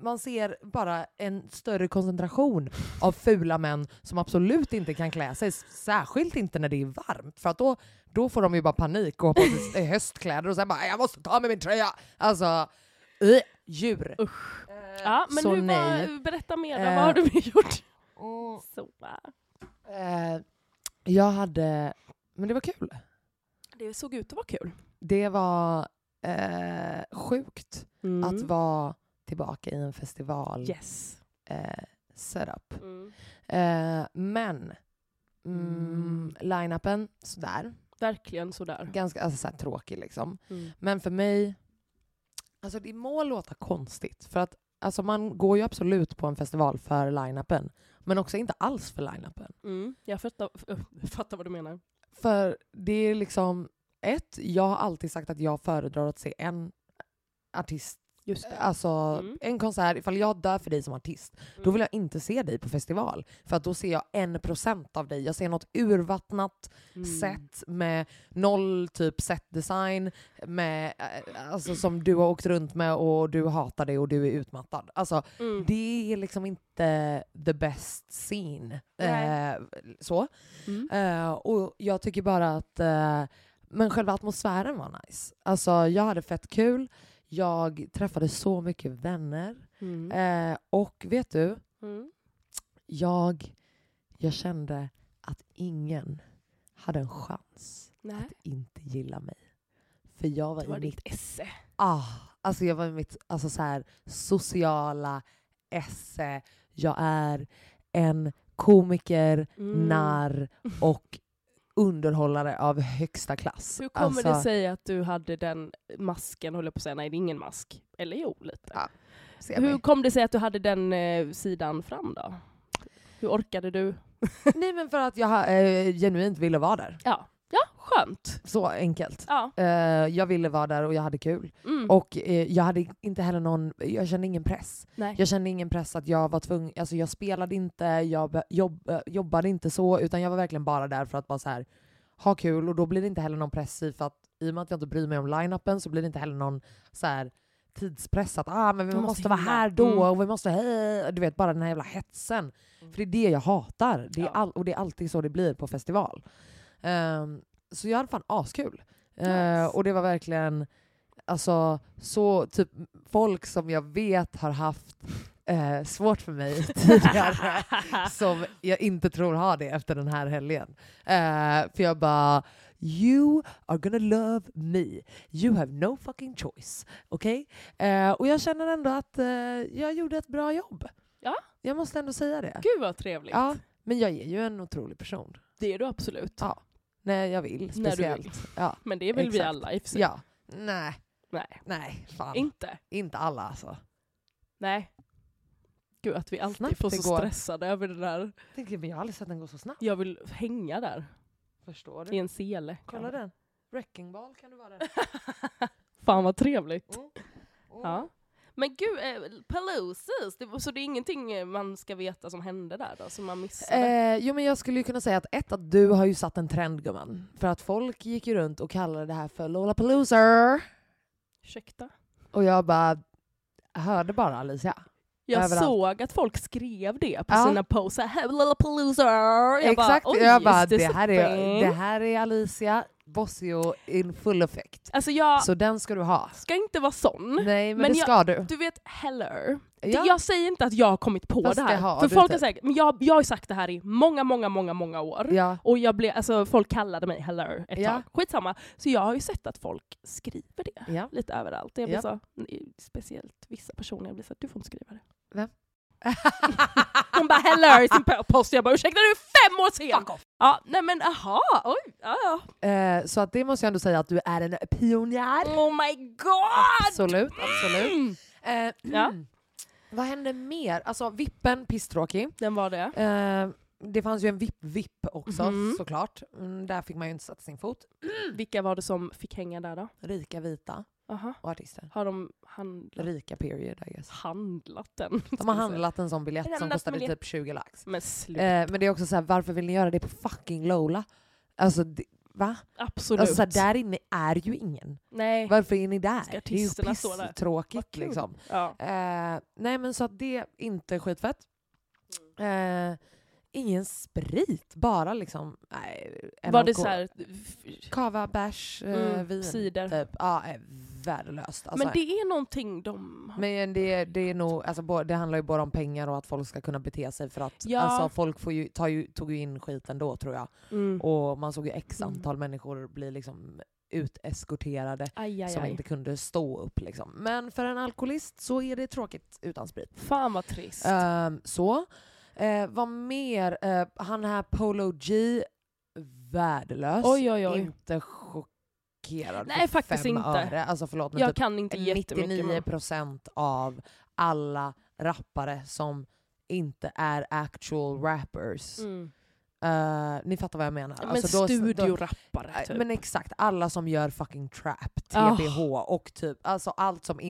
B: man ser bara en större koncentration av fula män som absolut inte kan klä sig. Särskilt inte när det är varmt. För att då, Då får de ju bara panik och hoppa upp i höstkläder och sen bara “jag måste ta av mig min tröja”. Alltså, uh, djur.
A: Usch.
B: Eh,
A: Ja, men
B: så
A: hur
B: nej.
A: var, berätta mer, då.
B: Eh.
A: vad har du gjort?
B: Mm,
A: Så. äh,
B: eh, jag hade... Men det var kul.
A: Det såg ut att vara kul.
B: Det var eh, sjukt
A: Mm.
B: att vara tillbaka i en festival
A: Yes.
B: eh, setup.
A: Mm.
B: Eh, men mm,
A: Mm.
B: line-upen, sådär.
A: Verkligen sådär.
B: Ganska alltså, såhär, tråkig liksom.
A: Mm.
B: Men för mig, alltså det må låta konstigt för att alltså, man går ju absolut på en festival för line-upen. Men också inte alls för line-upen.
A: Mm. Jag fattar, jag fattar vad du menar.
B: För det är liksom, ett, jag har alltid sagt att jag föredrar att se en artist
A: Just det.
B: Alltså
A: Mm.
B: en konsert, ifall jag dör för dig som artist, då
A: Mm.
B: vill jag inte se dig på festival. För att då ser jag en procent av dig. Jag ser något urvattnat
A: Mm.
B: set med noll typ setdesign, med, eh, alltså, som du har åkt runt med och du hatar det och du är utmattad. Alltså
A: Mm.
B: det är liksom inte the best scene.
A: Nej.
B: Eh, så.
A: Mm.
B: Eh, och jag tycker bara att eh, men själva atmosfären var nice. Alltså jag hade fett kul, jag träffade så mycket vänner.
A: Mm.
B: Eh, och vet du,
A: Mm.
B: jag, jag kände att ingen hade en chans
A: Nej,
B: att inte gilla mig. För jag var,
A: det var
B: i mitt,
A: ditt esse.
B: ah, alltså jag var i mitt alltså så här, sociala esse. Jag är en komiker,
A: Mm.
B: narr och underhållare av högsta klass.
A: Hur kommer
B: Alltså,
A: det sig att du hade den masken, håller jag på att säga, nej det är ingen mask. Eller jo, lite.
B: Ja, se
A: Hur
B: mig.
A: kom det sig att du hade den eh, sidan fram då? Hur orkade du?
B: Nej men för att jag eh, genuint ville vara där.
A: Ja, ja skönt.
B: Så enkelt.
A: Ja.
B: Eh, jag ville vara där och jag hade kul.
A: Mm.
B: Och eh, jag hade inte heller någon, jag kände ingen press.
A: nej.
B: Jag kände ingen press att jag var tvungen, alltså jag spelade inte, jag be- jobb, eh, jobbade inte så, utan jag var verkligen bara där för att bara så här, ha kul och då blir det inte heller någon press i för att i och med att jag inte bryr mig om line-upen så blir det inte heller någon så här tidspress att ah, men vi
A: Du
B: måste,
A: måste
B: vara
A: hinna.
B: här då
A: Mm.
B: och vi måste hej, du vet bara den här jävla hetsen. För det är det jag hatar det är
A: Ja.
B: all, och det är alltid så det blir på festival. Ehm, så jag hade fan askul. Ehm,
A: Nice.
B: och det var verkligen alltså så typ folk som jag vet har haft eh, svårt för mig tidigare som jag inte tror har det efter den här helgen. Eh, för jag bara, you are gonna love me. You have no fucking choice. Okej? Eh, och jag känner ändå att eh, jag gjorde ett bra jobb.
A: Ja.
B: Jag måste ändå säga det.
A: Gud vad trevligt.
B: Ja, men jag är ju en otrolig person.
A: Det är du absolut.
B: Ja. När jag vill,
A: När du
B: speciellt.
A: vill.
B: Ja.
A: Men det är väl vi
B: Exakt.
A: alla i och för sig.
B: Ja. typ Nej,
A: Nej,
B: nej, fan.
A: inte.
B: inte alla alltså.
A: Nej. Gud att vi alltid
B: Snabbt
A: får så
B: det går.
A: stressade över det där.
B: Jag, tänker, men jag har aldrig sett den gå så snabbt.
A: Jag vill hänga där
B: Förstår
A: i en sele.
B: Kolla den. Wrecking ball kan du vara.
A: Fan vad trevligt.
B: Mm. Mm.
A: Ja. Men gud, eh, Paloozas, det, var- så det är ingenting eh, man ska veta som hände där då, som man missade?
B: Eh, jo men jag skulle ju kunna säga att ett, att du har ju satt en trend gumman. För att folk gick ju runt och kallade det här för Lollapalooza.
A: Ursäkta?
B: Och jag bara hörde bara Alicia.
A: Jag
B: överallt.
A: såg att folk skrev det på
B: Ja.
A: sina posts, såhär Lollapalooza! Jag
B: Exakt,
A: bara, "Oj,
B: jag bara
A: just
B: det,
A: så
B: här är,
A: fint."
B: det här är Alicia Bossio in full effekt.
A: Alltså jag
B: Så den ska du ha.
A: ska inte vara sån.
B: Nej men,
A: Men
B: det
A: jag-
B: ska du.
A: Du vet, heller.
B: Ja.
A: Jag säger inte att jag har kommit på
B: Fast
A: det
B: det
A: här.
B: har
A: för
B: du
A: folk har
B: typ.
A: säkert, men jag, jag har ju sagt det här i många, många, många, många år.
B: Ja.
A: Och jag blev, alltså, folk kallade mig heller ett
B: Ja.
A: tag. Skitsamma. Så jag har ju sett att folk skriver det
B: Ja.
A: lite överallt. Jag blir
B: Ja.
A: så, speciellt vissa personer, jag blir så, du får inte skriva det.
B: Hon
A: Hon bara heller i sin po- post. Jag bara ursäkta du är fem år sen!
B: off.
A: Ja, nej men aha, oj, ja, ja.
B: Eh, så att det måste jag ändå säga att du är en pionjär.
A: Oh my god!
B: Absolut, absolut.
A: Mm.
B: Eh,
A: Ja.
B: Vad hände mer? Alltså vippen, pisstråkig.
A: Den var det.
B: Eh, det fanns ju en vipp-vipp också
A: Mhm.
B: såklart. Mm, där fick man ju inte sätta sin fot.
A: Vilka var det som fick hänga där då?
B: Rika vita
A: Aha.
B: och artister.
A: Har de handlat,
B: Rika period I guess.
A: handlat den?
B: De har handlat en sån biljett som
A: Lämnat
B: kostade
A: biljett.
B: typ 20 lax.
A: Men slut.
B: Eh, men det är också så här, varför vill ni göra det på fucking Lola? Alltså, det, va?
A: Absolut.
B: Alltså, så här, där inne är ju ingen.
A: Nej.
B: Varför är ni där?
A: Ska artisterna stå där? Vad
B: tråkigt
A: kul.
B: liksom.
A: Ja.
B: Eh, nej men så att det är inte skitfett. Eh, Ingen sprit, bara liksom... Nej,
A: Var
B: MLK.
A: det så här,
B: Kava, bärs, eh,
A: mm,
B: vin.
A: cider?
B: Typ. Ja, eh, värdelöst. Alltså,
A: Men det är någonting de... har-
B: Men det, det, är nog, alltså, bo- det handlar ju bara om pengar och att folk ska kunna bete sig. För att
A: Ja.
B: alltså, folk får ju, tar ju, tog ju in skit ändå tror jag.
A: Mm.
B: Och man såg ju x
A: Mm.
B: antal människor bli liksom uteskorterade
A: Aj, aj,
B: som
A: aj.
B: inte kunde stå upp. Liksom. Men för en alkoholist så är det tråkigt utan sprit.
A: Fan vad trist.
B: Ehm, så. Eh, vad mer? Eh, han här Polo G, värdelös.
A: Oj, oj, oj.
B: alltså, Inte chockerad
A: Nej,
B: för
A: faktiskt
B: fem
A: inte.
B: öre. Alltså förlåt, men
A: jag
B: typ
A: kan inte jättemycket. men-
B: 99% av alla rappare som inte är actual rappers.
A: Mm.
B: Eh, ni fattar vad jag menar.
A: Men
B: Alltså, då-
A: studiorappare
B: Nej,
A: typ.
B: Men exakt, alla som gör fucking trap,
A: Ah.
B: TBH och typ alltså allt som inte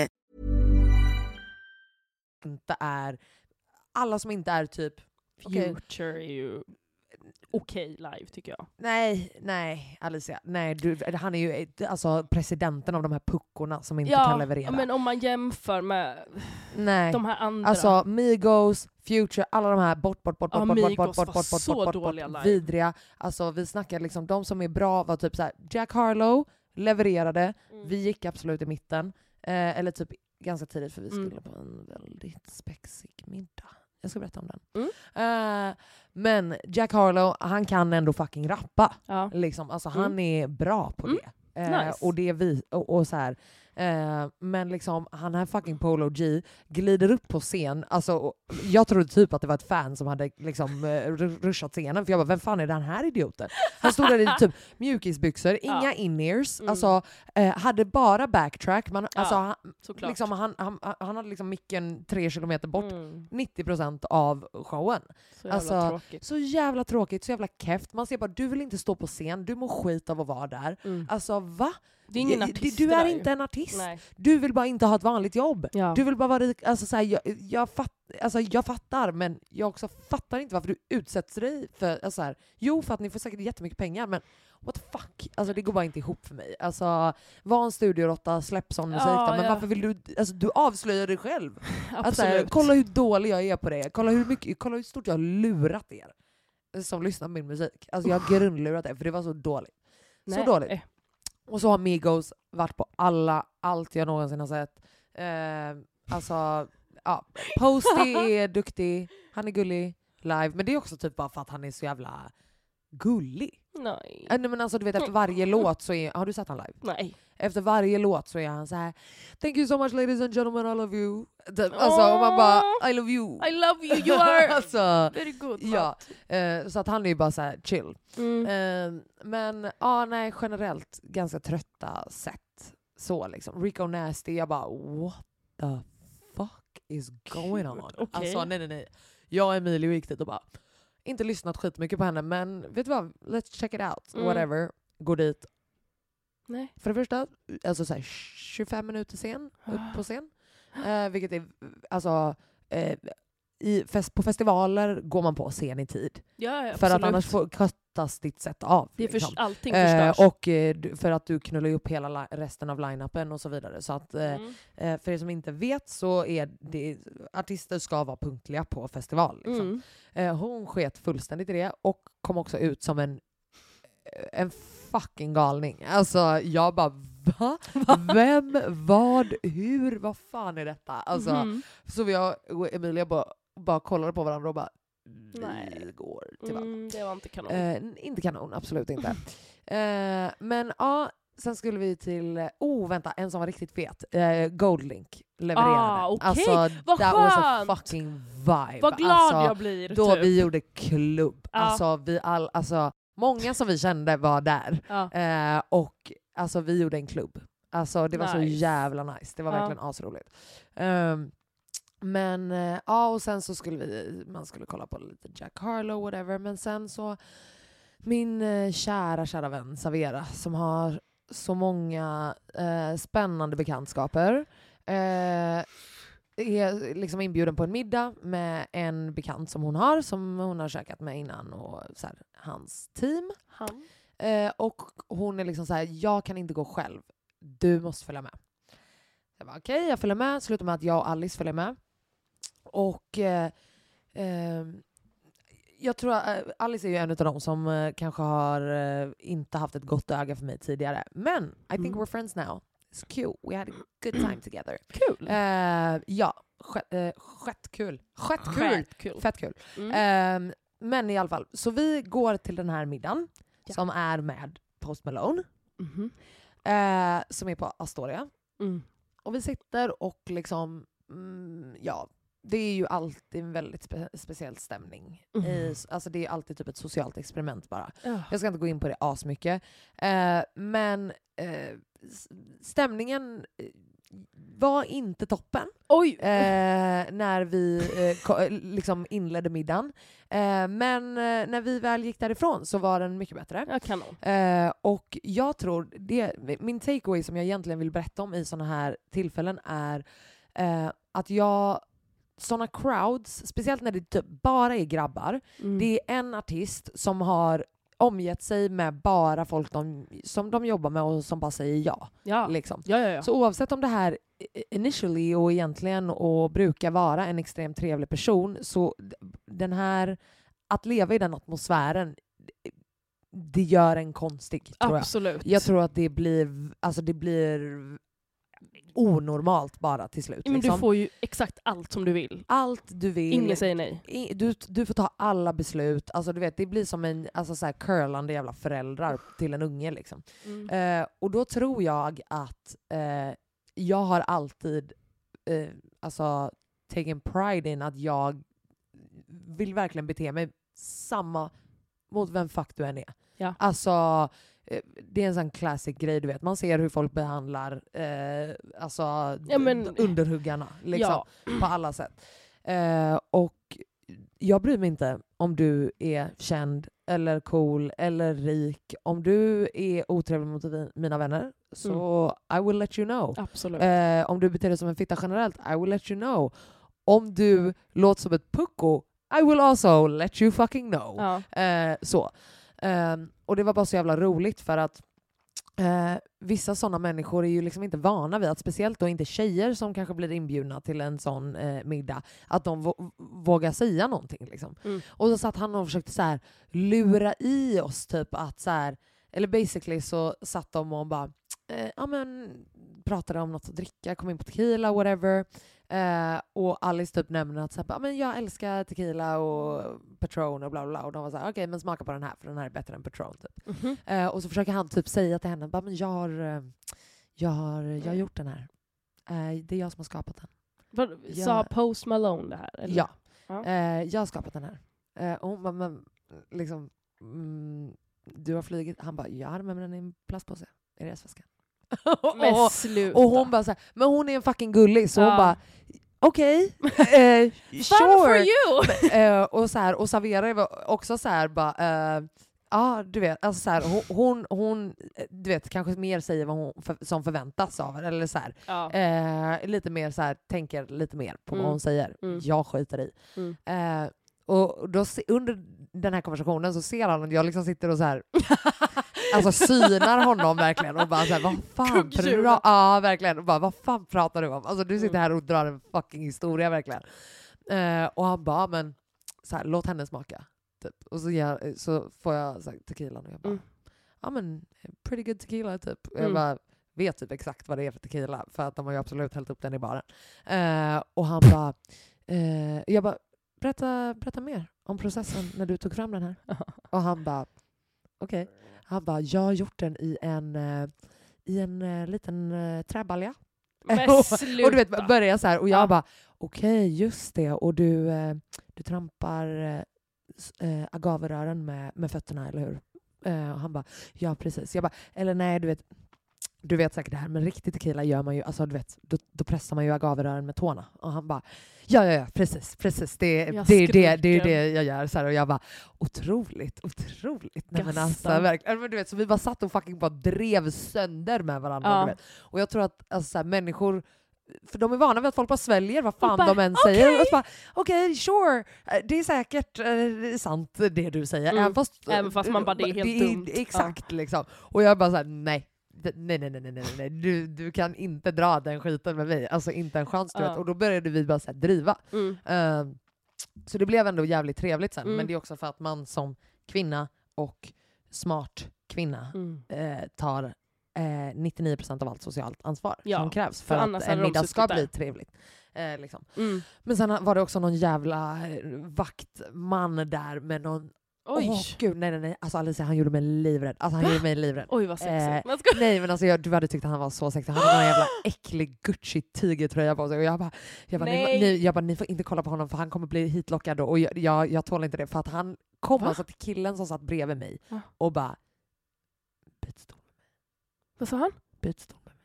B: är, alla som inte är typ Okej. Eh,
A: Future är ju okej live tycker jag.
B: Nej, nej Alicia. Nej, du, han är ju ett- alltså, presidenten av de här puckorna som inte kan leverera.
A: men om man jämför med
B: nej.
A: de här andra.
B: Alltså Migos, Future, alla de här bort, bort, bort,
A: Ja,
B: bort, bort, bort,
A: Migos
B: bort, bort,
A: var
B: bort, bort,
A: så
B: bort, bort,
A: dåliga live.
B: vidriga. Alltså vi snackar liksom, de som är bra var typ så här, Jack Harlow levererade,
A: Mm.
B: vi gick absolut i mitten. Eh, eller typ ganska tidigt för vi skulle
A: Mm.
B: på en väldigt spexig middag. Jag ska berätta om den.
A: Mm.
B: Eh, men Jack Harlow, han kan ändå fucking rappa.
A: ja.
B: Liksom. Alltså,
A: Mm.
B: Han är bra på
A: Mm.
B: det. Eh,
A: Nice.
B: Och det är vi, och, och så här. Eh, men liksom, han här fucking Polo G glider upp på scen. Alltså, och jag trodde typ att det var ett fan som hade liksom, eh, ru- ruschat scenen, för jag bara vem fan är den här idioten? Han stod där i typ mjukisbyxor, inga
A: Ja.
B: in-ears,
A: Mm.
B: alltså, eh, hade bara backtrack. Man, alltså,
A: Ja,
B: han,
A: Såklart.
B: liksom, han, han, han hade liksom micken tre kilometer bort.
A: Mm.
B: 90% av showen.
A: Så jävla
B: Alltså,
A: tråkigt.
B: Så jävla tråkigt, så jävla keft. Man ser bara du vill inte stå på scen, du mår skit av att vara där.
A: Mm.
B: Alltså va?
A: Det är ingen
B: Det-
A: artist
B: Du
A: det
B: är
A: där ju.
B: inte en artist.
A: Nej.
B: Du vill bara inte ha ett vanligt jobb.
A: Ja.
B: Du vill bara vara rik. Alltså, så här, jag, jag, fatt, alltså, jag fattar, men jag också fattar inte varför du utsätts dig för... Alltså, så här, jo, för att ni får säkert jättemycket pengar, men what the fuck? Alltså, det går bara inte ihop för mig. Alltså, var en studioråtta, släpp sån musik
A: Ja,
B: då, men
A: ja.
B: varför vill du... Alltså, du avslöjar dig själv. Att, Alltså, så här,
A: Absolut.
B: kolla hur dålig jag är på det. Kolla hur, mycket, kolla hur stort jag har lurat er som lyssnar på min musik. Alltså, jag har grundlurat er, för det var så dåligt. Så
A: Nej.
B: dåligt. Och så har Migos varit på alla, allt jag någonsin har sett. Eh, alltså, ja. Posty är duktig, han är gullig live. Men det är också typ bara för att han är så jävla gullig.
A: Nej.
B: Äh, nej, men alltså du vet efter varje låt så är, har du sett han live?
A: Nej.
B: Efter varje låt så är han så här Thank you so much ladies and gentlemen, I love you. Typ, Alltså och man bara I love you.
A: I love you, you are
B: alltså,
A: very good.
B: ja. eh, så att han är ju bara så här chill.
A: Mm.
B: Eh, men ja, nej generellt ganska trötta sätt. Så liksom. Rico Nasty, jag bara what the fuck is going on?
A: Gud, okej.
B: Alltså nej nej nej. Jag och Emilio gick dit och bara inte lyssnat skitmycket på henne men vet du vad, let's check it out.
A: Mm.
B: Whatever. Går dit.
A: Nej.
B: För det första, alltså så här, 25 minuter sen, upp på scen. Eh, vilket är, alltså, eh, i fest, på festivaler går man på scen i tid.
A: Ja, ja,
B: För att
A: Eh, absolut.
B: annars får, köttas ditt sätt av.
A: det är förs-
B: liksom.
A: allting
B: Eh,
A: förstörs.
B: och eh, du- för att du knullar ju upp hela li- resten av line-upen och så vidare. Så att, eh,
A: Mm.
B: eh, för er som inte vet så är det, artister ska vara punktliga på festival. Liksom.
A: Mm.
B: Eh, hon sket fullständigt i det och kom också ut som en, eh, en fucking galning. Alltså jag bara va? Vem? Vad? Hur? Vad fan är detta? Alltså,
A: Mhm.
B: Så vi jag och Emilia bara bara kollade på varandra och bara
A: Nej.
B: vi går till vatten.
A: Mm, det var inte kanon.
B: Eh, inte kanon, absolut inte. eh, men ja, sen skulle vi till, oh vänta, en som var riktigt fet. Eh, Goldlink levererade.
A: Ah, okej.
B: Alltså
A: Vad
B: that was a
A: skönt.
B: fucking vibe.
A: Vad glad
B: alltså,
A: jag blir.
B: Då
A: typ.
B: vi gjorde klubb.
A: Ja.
B: Alltså, vi all, alltså, många som vi kände var där.
A: ja.
B: Eh, och alltså, vi gjorde en klubb. Alltså, det var så
A: Nice.
B: jävla nice. Det var
A: Ja.
B: verkligen asroligt. Ehm, men eh, ja, och sen så skulle vi, man skulle kolla på lite Jack Harlow whatever. Men sen så, min eh, kära, kära vän Savera som har så många eh, spännande bekantskaper. Eh, är liksom inbjuden på en middag med en bekant som hon har, som hon har käkat med innan och så här, hans team.
A: Han.
B: Eh, och hon är liksom så här, jag kan inte gå själv. Du måste följa med. Jag bara okej, jag följer med. Slutar med att jag och Alice följer med. Och eh, eh, jag tror att eh, Alice är ju en av dem som eh, kanske har eh, inte haft ett gott öga för mig tidigare. Men I think
A: Mm.
B: we're friends now. It's cute. We had a good time together.
A: Kul.
B: Eh, ja, skett, eh, skettkul. Skettkul!
A: Skitkul.
B: Fett kul.
A: Mm.
B: Ehm, men i alla fall, så vi går till den här middagen
A: Ja.
B: som är med Post Malone,
A: Mhm.
B: eh, som är på Astoria.
A: Mm.
B: Och vi sitter och liksom, mm, ja, det är ju alltid en väldigt spe speciell stämning.
A: Mhm.
B: I, alltså det är alltid typ ett socialt experiment bara.
A: Ja.
B: Jag ska inte gå in på det asmycket. Eh, men eh, s- stämningen eh, var inte toppen
A: Oj!
B: eh, när vi eh, ko- eh, liksom inledde middagen. Eh, men eh, när vi väl gick därifrån så var den mycket bättre.
A: Ja, kanon.
B: Eh, och jag tror, det, min takeaway som jag egentligen vill berätta om i sådana här tillfällen är eh, att jag, sådana crowds, speciellt när det typ bara är grabbar,
A: Mm.
B: det är en artist som har omgett sig med bara folk de, som de jobbar med och som bara säger ja.
A: ja.
B: Liksom.
A: ja, ja, ja.
B: Så oavsett om det här i- initially och egentligen och brukar vara en extremt trevlig person så d- den här, att leva i den atmosfären, d- det gör en konstig tror jag.
A: Absolut.
B: Jag tror att det blir, alltså det blir onormalt bara till slut.
A: men
B: liksom.
A: du får ju exakt allt som du vill.
B: Allt du vill.
A: Ingen säger nej.
B: I- du, du får ta alla beslut, alltså du vet det blir som en alltså så här curlande jävla föräldrar till en unge liksom.
A: Mm.
B: Eh, och då tror jag att eh, jag har alltid eh, alltså, taken pride in att jag vill verkligen bete mig samma mot vem fuck du än är.
A: Ja.
B: Alltså, eh, det är en sån classic grej du vet, man ser hur folk behandlar eh, alltså,
A: Ja, men-
B: d- underhuggarna liksom,
A: Ja.
B: på alla sätt. Eh, och jag bryr mig inte om du är känd eller cool eller rik. Om du är otrevlig mot vi- mina vänner så I will let you know.
A: Absolut.
B: Eh, om du beter dig som en fitta generellt, I will let you know. Om du låter som ett pucko, I will also let you fucking know.
A: ja.
B: Eh, så. Ehm, och det var bara så jävla roligt för att eh, vissa sådana människor är ju liksom inte vana vid att, speciellt då inte tjejer som kanske blir inbjudna till en sån eh, middag, att de vå- vågar säga någonting. Liksom.
A: Mm.
B: Och så satt han och försökte så här, lura i oss typ att så här, eller basically så satt de och bara eh, ja men pratade om något att dricka, kom in på tequila, whatever. Eh, och Alice typ nämner att så här, bara, men jag älskar tequila och Patron och bla bla bla. Och de var såhär, okej men smaka på den här för den här är bättre än Patron. Typ.
A: Mhm.
B: Eh, och så försöker han typ säga till henne, bara, men jag har, eh, jag har, jag har gjort den här. Eh, det är jag som har skapat den.
A: Vad-
B: Ja.
A: Sa Post Malone det här? Eller?
B: Ja.
A: Ja.
B: Eh, jag har skapat den här. Eh, och hon bara, men liksom, mm, du har flugit. Han bara, jag hade med mig den i en plastpåse i resväskan.
A: Men
B: och,
A: sluta.
B: och hon bara såhär, men hon är en fucking gullig så hon
A: Ja.
B: bara, okej, eh,
A: Fun for
B: sure.
A: you!
B: Eh, och, så här, och Savera var också så här bara, eh, ja du vet, alltså så här, hon, hon, hon, eh, du vet, kanske mer säger vad hon för, som förväntas av henne, eller så här,
A: ja.
B: eh, lite mer så här, tänker lite mer på
A: Mm.
B: vad hon säger.
A: Mm.
B: Jag skiter i.
A: Mm.
B: Eh, och då, se- under den här konversationen så ser han att jag liksom sitter och så här, alltså synar honom verkligen och bara så här, vad fan,
A: Kugghjul.
B: pra- ja, verkligen. Och bara, vad fan pratar du om? Alltså du sitter
A: Mm.
B: här och drar en fucking historia verkligen. Eh, och han bara, men så här, låt henne smaka. Typ. Och så, ger- så får jag så här, tequilan och jag bara,
A: Mm.
B: ja men eh, pretty good tequila typ. Och
A: Mm.
B: Jag bara, vet typ exakt vad det är för tequila för att de har ju absolut hällt upp den i baren. Eh, och han bara, eh, jag bara, berätta, berätta mer om processen när du tog fram den här. Och han bara, okej. Han bara, jag har gjort den i en, eh, i en eh, liten eh, träbalja.
A: Men
B: Och-
A: sluta.
B: Och du vet, börjar så här. Och jag
A: Ja.
B: bara, okej, just det. Och du, eh, du trampar eh, s- eh, agaverören med, med fötterna, eller hur? Eh, och han bara, ja precis. Jag bara, eller nej, du vet, du vet säkert det här, men riktig tequila gör man ju, alltså du vet, då, då pressar man ju agaverören med tårna. Och han bara, ja ja ja, precis, precis. Det, är-
A: Jag
B: det, är ju det, det är ju
A: skriker.
B: det jag gör. Så här, och jag bara, otroligt, otroligt. Nej, men alltså,
A: Gastar.
B: verkligen. Men du vet, så vi bara satt och fucking bara drev sönder med varandra.
A: Ja.
B: Du vet. Och jag tror att alltså, så här, människor för de är vana vid att folk bara sväljer vad fan
A: bara,
B: de än säger.
A: okej.
B: Och så bara, Okej, sure. Eh, Det är säkert eh, det är sant det du säger.
A: Mm.
B: Även, fast, äh,
A: Även fast man bara, det är helt dumt.
B: Exakt liksom. Och jag bara såhär, nej. D- Nej, nej, nej, nej, nej, nej. Du, du kan inte dra den skiten med mig. Alltså inte en chans. Du
A: Ja.
B: vet. Och då började vi bara så här, driva.
A: Mm.
B: Eh, så det blev ändå jävligt trevligt sen.
A: Mm.
B: Men det är också för att man som kvinna och smart kvinna
A: Mm.
B: eh, tar eh, 99% av allt socialt ansvar
A: Ja,
B: som krävs
A: för
B: för,
A: annars
B: att
A: hade
B: en
A: de
B: middag ska
A: suttit där.
B: bli trevligt. Eh, liksom.
A: Mm.
B: Men sen var det också någon jävla eh, vaktman där med någon...
A: Oj.
B: Åh gud, nej nej nej. Alltså Alicia han gjorde mig livrädd. Alltså han
A: Va?
B: gjorde mig livrädd.
A: Oj vad
B: Eh,
A: sexigt. Man ska...
B: Nej men alltså jag, du hade tyckt att han var så sexig. Han hade någon jävla äcklig Gucci tigertröja på sig och jag bara, jag bara, ni,
A: Nej.
B: ni, jag bara ni får inte kolla på honom för han kommer bli hitlockad då. och jag, jag, jag tål inte det för att han kom
A: Va?
B: alltså till killen som satt bredvid mig
A: Va?
B: och bara byt stol.
A: Vad sa han?
B: Byt stol med mig.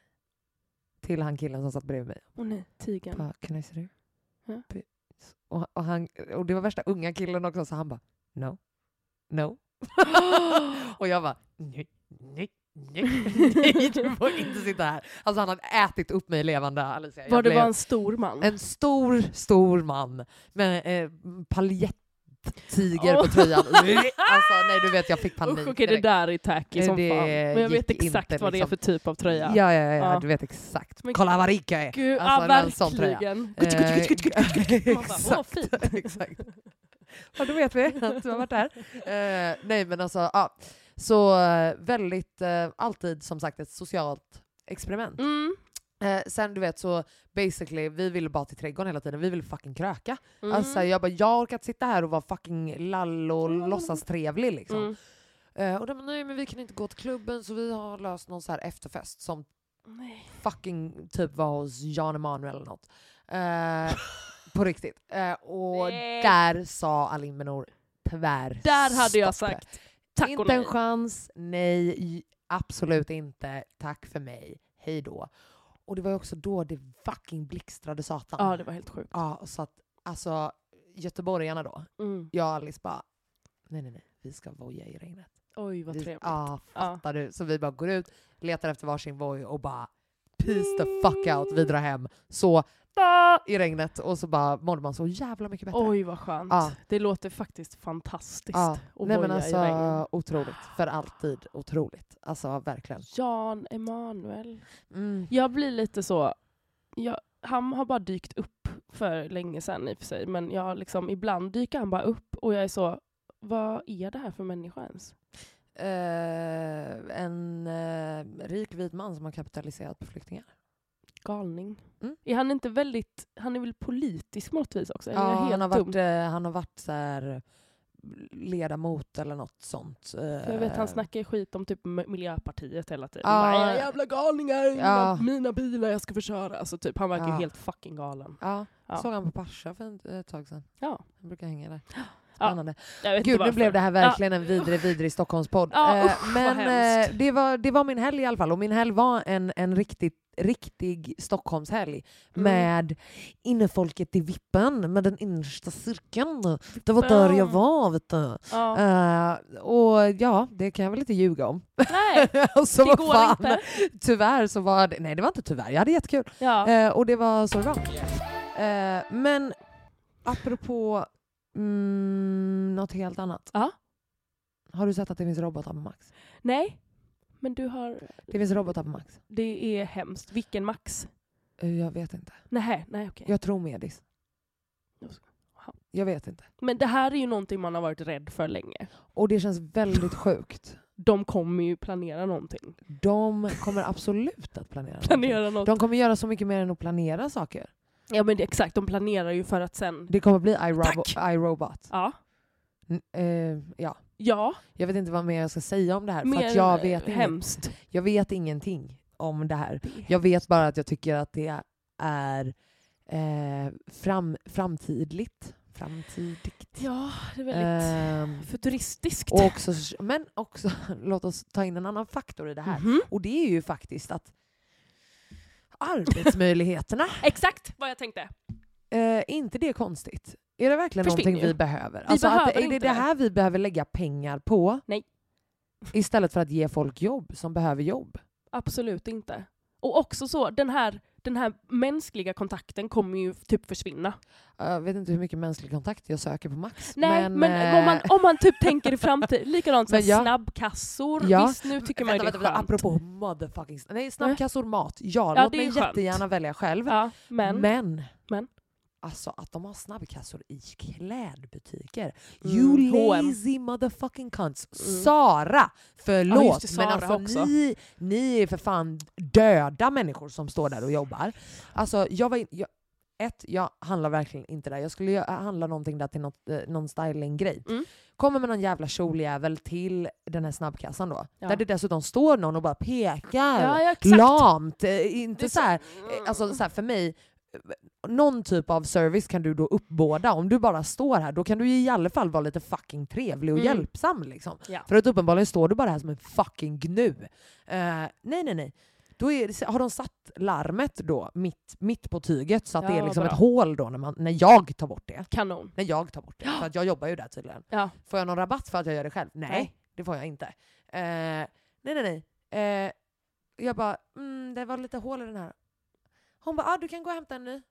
B: Till han killen som satt bredvid mig.
A: Åh nej, tigern.
B: Bara, Can I sit here?
A: Ja.
B: Byt. Och, och, han, och det var värsta unga killen också, så han bara no, no. och jag bara nej, nej, nej, nej, du får inte sitta här. Alltså han hade ätit upp mig levande Alicia. Jag
A: Var det
B: blev-
A: var en stor man?
B: en stor, stor man med eh, paljettiger på
A: Åh.
B: tröjan. alltså nej du vet jag fick panik.
A: Usch, okej det
B: direkt.
A: där är tacky som
B: Det
A: fan. Men jag vet
B: gick
A: exakt
B: inte,
A: vad det är
B: liksom.
A: för typ av tröja.
B: Ja, ja, ja, ja,
A: Ja.
B: du vet exakt.
A: Men-
B: Kolla vad rik jag är!
A: Gud,
B: Alltså,
A: ja,
B: en sån tröja.
A: verkligen.
B: Eh,
A: Gucci, gucci, gucci, gucci, gucci. Man bara, åh,
B: Exakt.
A: fint.
B: Exakt. Ja, då vet vi att du har varit där. Eh, nej, men alltså, ja. Så eh, väldigt, eh, alltid som sagt ett socialt experiment.
A: Mm.
B: Eh, sen du vet så basically, vi ville bara till trädgården hela tiden, vi ville fucking kröka.
A: Mm.
B: Alltså, jag bara, jag orkar inte sitta här och vara fucking lall och låtsas trevlig liksom.
A: Mm.
B: Eh, och de bara, nej men vi kan inte gå till klubben så vi har löst någon så här efterfest som
A: Nej.
B: fucking typ var hos Jan Emanuel eller något. Eh, på riktigt. Eh, och
A: Nej.
B: där sa Alimenor tvär
A: Där hade jag
B: stopp.
A: sagt tack och
B: Inte
A: nej.
B: en chans, nej, j- absolut inte, tack för mig, hej då. Och det var ju också då det fucking blixtrade satan.
A: Ja, det var helt sjukt.
B: Ja, så att alltså göteborgarna då,
A: Mm.
B: jag och Alice bara nej nej nej, vi ska voja i regnet.
A: Oj, vad
B: Vi-
A: trevligt.
B: Ja,
A: Ja.
B: fattar du? Så vi bara går ut, letar efter varsin voj och bara peace the fuck out, vi drar hem. Så da, i regnet och så bara mådde man så jävla mycket bättre.
A: Oj, vad skönt.
B: Ja.
A: Det låter faktiskt fantastiskt
B: ja.
A: att
B: Nej men
A: boja
B: alltså
A: i regn.
B: otroligt, för alltid otroligt. Alltså verkligen.
A: Jan Emanuel.
B: Mm.
A: Jag blir lite så... Jag, han har bara dykt upp för länge sedan i och för sig, men jag har liksom, ibland dyker han bara upp och jag är så, vad är det här för människa ens?
B: Eh, en eh, rik vit man som har kapitaliserat på flyktingar.
A: Galning.
B: Mm.
A: Är han inte väldigt, han är väl politisk på något vis också? Eller är
B: Ja,
A: jag helt
B: han, har
A: dum?
B: varit, eh, han har varit så här ledamot eller något sånt.
A: För jag vet han
B: Eh,
A: snackar ju skit om typ M- Miljöpartiet hela tiden.
B: Ja.
A: Bara, Era jävla galningar,
B: Ja.
A: mina, mina bilar jag ska förstöra. Alltså typ, han verkar ju
B: Ja.
A: helt fucking galen.
B: Ja,
A: Ja.
B: såg han på Pascha för ett, ett tag sedan.
A: Ja.
B: Han brukar hänga där.
A: Ja,
B: Spännande.
A: Jag vet
B: Gud,
A: inte
B: nu blev det här verkligen en
A: Ja.
B: vidrig, vidrig Stockholmspodd.
A: Ja,
B: Eh,
A: usch, vad
B: Men
A: hemskt.
B: eh, det var, det var min helg i alla fall, och min helg var en, en riktigt riktig Stockholmshelg
A: Mm.
B: med innefolket i Vippen, med den innersta cirkeln. Det var där jag var, vet du.
A: Ja.
B: Eh, och ja, det kan jag väl inte ljuga om.
A: Nej,
B: alltså,
A: det
B: vad
A: går
B: fan.
A: inte.
B: Tyvärr så var det, nej det var inte tyvärr, jag hade jättekul.
A: Ja.
B: Eh, och det var så det var. Eh, men apropå mm, något helt annat.
A: Ja.
B: Har du sett att det finns robotar på Max?
A: Nej, men du har...
B: Det finns robotar på Max.
A: Det är hemskt. Vilken Max?
B: Eh, jag vet inte.
A: Nej, nej okej.
B: Jag tror Medis.
A: Ja.
B: Jag vet inte.
A: Men det här är ju någonting man har varit rädd för länge.
B: Och det känns väldigt sjukt.
A: De kommer ju planera någonting.
B: De kommer absolut att planera. någonting.
A: Planera något.
B: De kommer göra så mycket mer än att planera saker.
A: Ja men det, exakt, de planerar ju för att sen...
B: Det kommer bli iRobo- iRobot.
A: Ja.
B: N- eh, ja.
A: Ja,
B: Jag vet inte vad mer jag ska säga om det här. för
A: mer
B: att jag, vet inget,
A: hemskt.
B: jag vet ingenting om det här. Jag vet bara att jag tycker att det är eh, fram, framtidligt. Framtidigt.
A: Ja, det är väldigt
B: Ehm,
A: futuristiskt.
B: och också, men också, låt oss ta in en annan faktor i det här.
A: Mhm.
B: Och det är ju faktiskt att arbetsmöjligheterna,
A: Exakt vad jag tänkte.
B: eh, inte det är konstigt? Är det verkligen
A: Försvinner
B: någonting
A: ju.
B: vi behöver? alltså att,
A: behöver
B: är det
A: inte
B: det
A: det.
B: här vi behöver lägga pengar på?
A: Nej.
B: Istället för att ge folk jobb som behöver jobb?
A: Absolut inte. Och också så, den här, den här mänskliga kontakten kommer ju typ försvinna.
B: Eh, Jag vet inte hur mycket mänsklig kontakt jag söker på Max.
A: Nej, men,
B: eh,
A: om, man, om man typ tänker i framtiden, likadant som
B: Men ja.
A: snabbkassor.
B: Ja.
A: Visst, nu tycker man ju
B: vänta,
A: det är
B: vänta, vänta,
A: skönt.
B: apropå motherfucking... Nej, snabbkassor mat. Ja,
A: Ja,
B: låt
A: det
B: mig
A: är skönt.
B: jättegärna välja själv.
A: Ja, men,
B: Men, men,
A: Men.
B: Alltså att de har snabbkassor i klädbutiker.
A: Mm,
B: You
A: H&M.
B: lazy motherfucking cunts.
A: Mm.
B: Sara! Förlåt,
A: Ja, just det, Sara
B: men alltså
A: också.
B: Ni, ni är för fan döda människor som står där och jobbar. Alltså jag var in, jag, ett, jag handlar verkligen inte där. Jag skulle ju handla någonting där till något, eh, någon stylinggrej.
A: Mm.
B: Kommer med någon jävla kjoljävel till den här snabbkassan då.
A: Ja.
B: Där det dessutom står någon och bara pekar
A: Ja, ja, exakt.
B: lamt. eh,
A: Det är
B: Inte
A: så-
B: så här, eh, alltså så här för mig, eh, någon typ av service kan du då uppbåda. Om du bara står här, då kan du ju i alla fall vara lite fucking trevlig och
A: Mm.
B: hjälpsam. Liksom.
A: Ja.
B: För att uppenbarligen står du bara här som en fucking gnu. Eh, nej, nej, nej. Då är, det- har de satt larmet då mitt, mitt på tyget så att det
A: Ja,
B: är liksom
A: bra.
B: ett hål då när, man, när jag tar bort det.
A: kanon.
B: När jag tar bort det. För att jag jobbar ju där tydligen.
A: Ja.
B: Får jag någon rabatt för att jag gör det själv? Nej,
A: Nej.
B: det får jag inte. Eh, nej, nej, nej. Eh, jag bara, mm, det var lite hål i den här. Hon bara, ah, du kan gå och hämta en ny.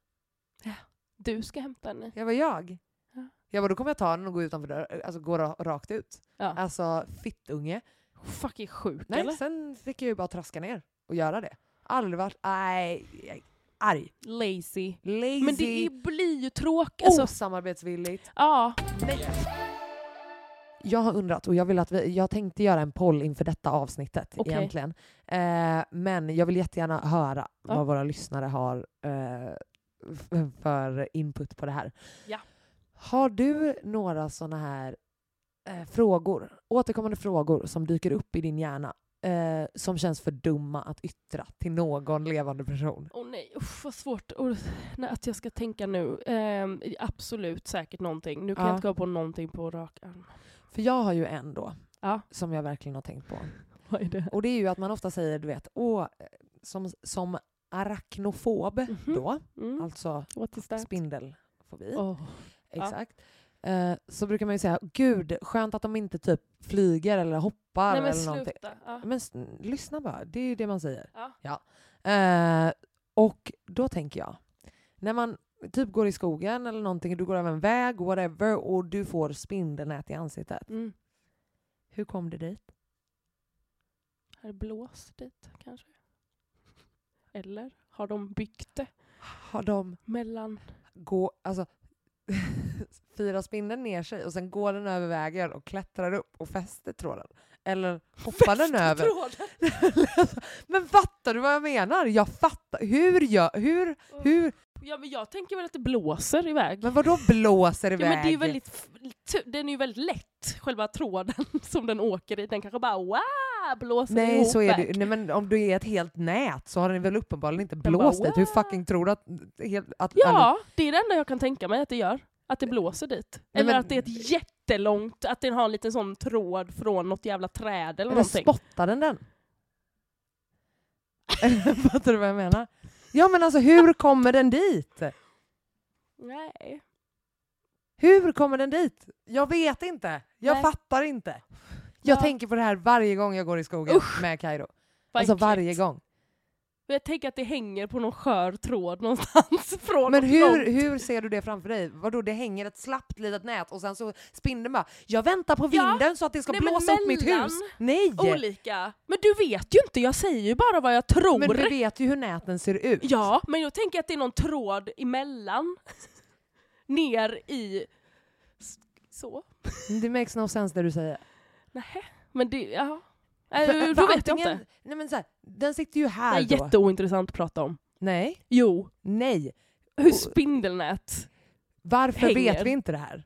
A: Du ska hämta henne.
B: Jag var jag.
A: Ja.
B: Jag bara, då kommer jag ta den och gå utanför dörren, alltså gå ra- rakt ut.
A: Ja.
B: Alltså fittunge.
A: Fucking sjuk
B: Nej,
A: eller?
B: sen fick jag ju bara traska ner och göra det. Aldrig varit, nej, jag är arg.
A: Lazy.
B: Lazy,
A: Men det är, blir ju
B: Oh.
A: tråkigt. Alltså,
B: osamarbetsvilligt.
A: ja.
B: Jag har undrat och jag, vill att vi, jag tänkte göra en poll inför detta avsnittet
A: Okej.
B: egentligen. Eh, men jag vill jättegärna höra
A: Ja.
B: vad våra lyssnare har eh, f- för input på det här.
A: Ja.
B: Har du några sådana här eh, frågor, återkommande frågor som dyker upp i din hjärna eh, som känns för dumma att yttra till någon levande person?
A: Åh nej, usch vad svårt Åh, nej, att jag ska tänka nu. Ehm, absolut säkert någonting. Nu kan
B: Ja.
A: jag inte gå på någonting på rak arm.
B: För jag har ju en då,
A: Ja.
B: som jag verkligen har tänkt på.
A: Vad är det?
B: Och det är ju att man ofta säger, du vet, åh, som, som arachnofob
A: Mhm.
B: då,
A: Mm.
B: alltså
A: What is that?
B: spindelfobi,
A: Åh. ja.
B: exakt. Eh, så brukar man ju säga, gud skönt att de inte typ flyger eller hoppar
A: Nej men
B: eller någonting.
A: sluta. Ja.
B: Men s- lyssna bara, det är ju det man säger.
A: Ja.
B: Eh, och då tänker jag, när man typ går i skogen eller någonting, du går över en väg, whatever, och du får spindelnät i ansiktet.
A: Mm.
B: Hur kom det dit?
A: Är det blås dit kanske? Eller har de byggt det
B: Har de
A: mellan?
B: gå, alltså, firar spindeln ner sig och sen går den över vägen och klättrar upp och fäster tråden. Eller hoppar den över.
A: Tråden.
B: men fattar du vad jag menar? Jag fattar. Hur gör... Hur? hur
A: Ja men jag tänker väl att det blåser iväg.
B: men vadå blåser
A: Ja,
B: iväg?
A: men det är ju väldigt, f- tu- den är ju väldigt lätt, själva tråden som den åker i. Den kanske bara wow, blåser
B: Nej,
A: ihop.
B: så är det
A: back.
B: ju. Nej, men om du är ett helt nät så har den väl uppenbarligen inte
A: bara,
B: blåst dit. Hur
A: "Wow."
B: fucking tror du att... Helt, att eller-
A: Ja, det är det enda jag kan tänka mig att det gör. Att det blåser dit.
B: Nej,
A: eller
B: men-
A: att det är ett jättelångt, att den har en liten sån tråd från något jävla träd eller
B: Eller
A: någonting.
B: spottar den den? Fattar du vad jag menar? Ja men alltså hur kommer den dit?
A: Nej.
B: Hur kommer den dit? Jag vet inte. Jag
A: Nej.
B: fattar inte. Jag
A: Ja.
B: tänker på det här varje gång jag går i skogen med Kairo.
A: vad
B: Alltså
A: äckligt.
B: varje gång.
A: Jag tänker att det hänger på någon skör tråd någonstans. från
B: Men
A: något
B: hur,
A: långt.
B: hur ser du det framför dig? Vadå, det hänger ett slappt litet nät och sen så spindeln bara “Jag väntar på
A: Ja.
B: vinden så att det ska
A: Nej, men
B: blåsa upp mitt
A: mellan
B: hus”. Nej!
A: Olika. Men du vet ju inte, jag säger ju bara vad jag tror.
B: Men du vet ju hur näten ser ut.
A: Ja, men jag tänker att det är någon tråd emellan. Ner i... s- Så.
B: Det makes no sense det du säger.
A: Nej, men det... Ja. Äh,
B: För-
A: då
B: för
A: vet jag
B: antingen-
A: inte.
B: Nej, men så här, den sitter ju
A: Det är
B: här då.
A: jätteointressant att prata om.
B: Nej,
A: Jo.
B: nej.
A: hur spindelnät...
B: Varför
A: Hänger.
B: vet vi inte det här?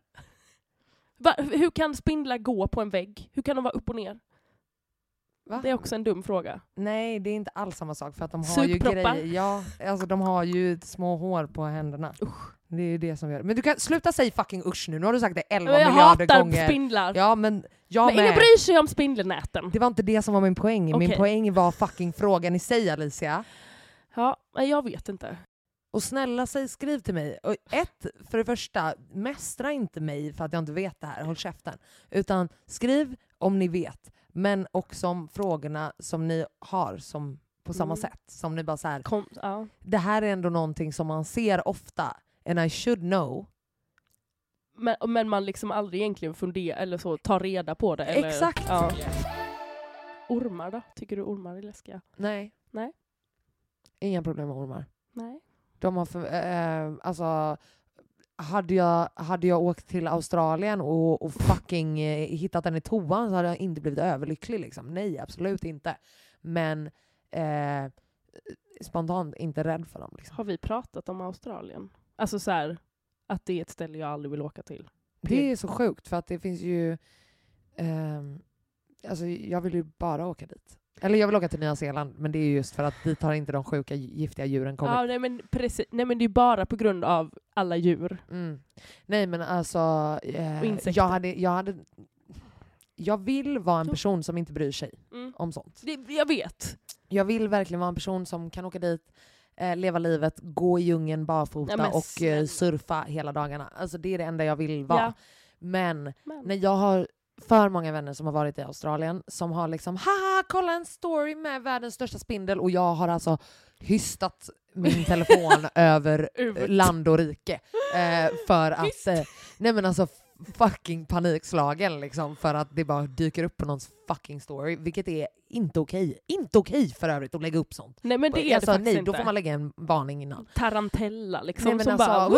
A: Va, hur kan spindlar gå på en vägg? Hur kan de vara upp och ner?
B: Va?
A: Det är också en dum
B: Mm,
A: fråga.
B: Nej, det är inte alls samma sak för att de har ju
A: Sugproppar.
B: grejer. Ja, alltså de har ju små hår på händerna. Det är ju det som gör Men du kan sluta säga fucking usch nu, nu har du sagt det 11
A: Jag
B: miljarder
A: hatar
B: gånger.
A: spindlar.
B: Ja men jag
A: men ingen
B: med.
A: bryr sig om spindelnäten.
B: Det var inte det som var min poäng. Min
A: Okej.
B: poäng var fucking frågan i sig Alicia.
A: Ja, nej, jag vet inte.
B: Och snälla säg skriv till mig. Och ett, för det första, mästra inte mig för att jag inte vet det här, håll käften. Utan skriv om ni vet, men också om frågorna som ni har som, på samma
A: Mm.
B: sätt. Som ni bara så här,
A: Kon- ja.
B: det här är ändå någonting som man ser ofta, and I should know.
A: men, men man liksom aldrig egentligen funderar eller så tar reda på det. Eller,
B: Exakt.
A: Ja. Ormar då? Tycker du ormar är läskiga?
B: Nej.
A: Nej.
B: Inga problem med ormar.
A: Nej.
B: De har för, eh, alltså, hade jag, hade jag åkt till Australien och, och fucking eh, hittat den i toan så hade jag inte blivit överlycklig. Liksom. Nej, absolut inte. Men eh, spontant inte rädd för dem. Liksom.
A: Har vi pratat om Australien? Alltså så här, att det är ett ställe jag aldrig vill åka till.
B: Det är så sjukt för att det finns ju... ehm, alltså jag vill ju bara åka dit. Eller jag vill åka till Nya Zeeland men det är just för att dit har inte de sjuka giftiga djuren kommit.
A: Ja, nej, men precis, nej men det är bara på grund av alla djur.
B: Mm. Nej men alltså, eh,
A: Och insekter.
B: jag, hade, jag, hade, jag vill vara en
A: Jo.
B: person som inte bryr sig om sånt.
A: Det, jag vet.
B: Jag vill verkligen vara en person som kan åka dit, eh, leva livet, gå i djungeln barfota
A: Nej, men
B: och eh,
A: snälla.
B: surfa hela dagarna. Alltså det är det enda jag vill vara.
A: Ja,
B: Men
A: men.
B: när jag har för många vänner som har varit i Australien som har liksom haha kolla en story med världens största spindel och jag har alltså hystat min telefon över
A: Ut.
B: land och rike. Eh, för att,
A: Visst.
B: eh, nej men alltså fucking panikslagen liksom för att det bara dyker upp på någons fucking story vilket är inte okej. Inte okej för övrigt att lägga upp sånt.
A: Nej men det är
B: alltså,
A: det faktiskt
B: nej,
A: inte.
B: då får man lägga en varning innan.
A: Tarantella liksom.
B: Nej, men
A: som
B: alltså,
A: bara,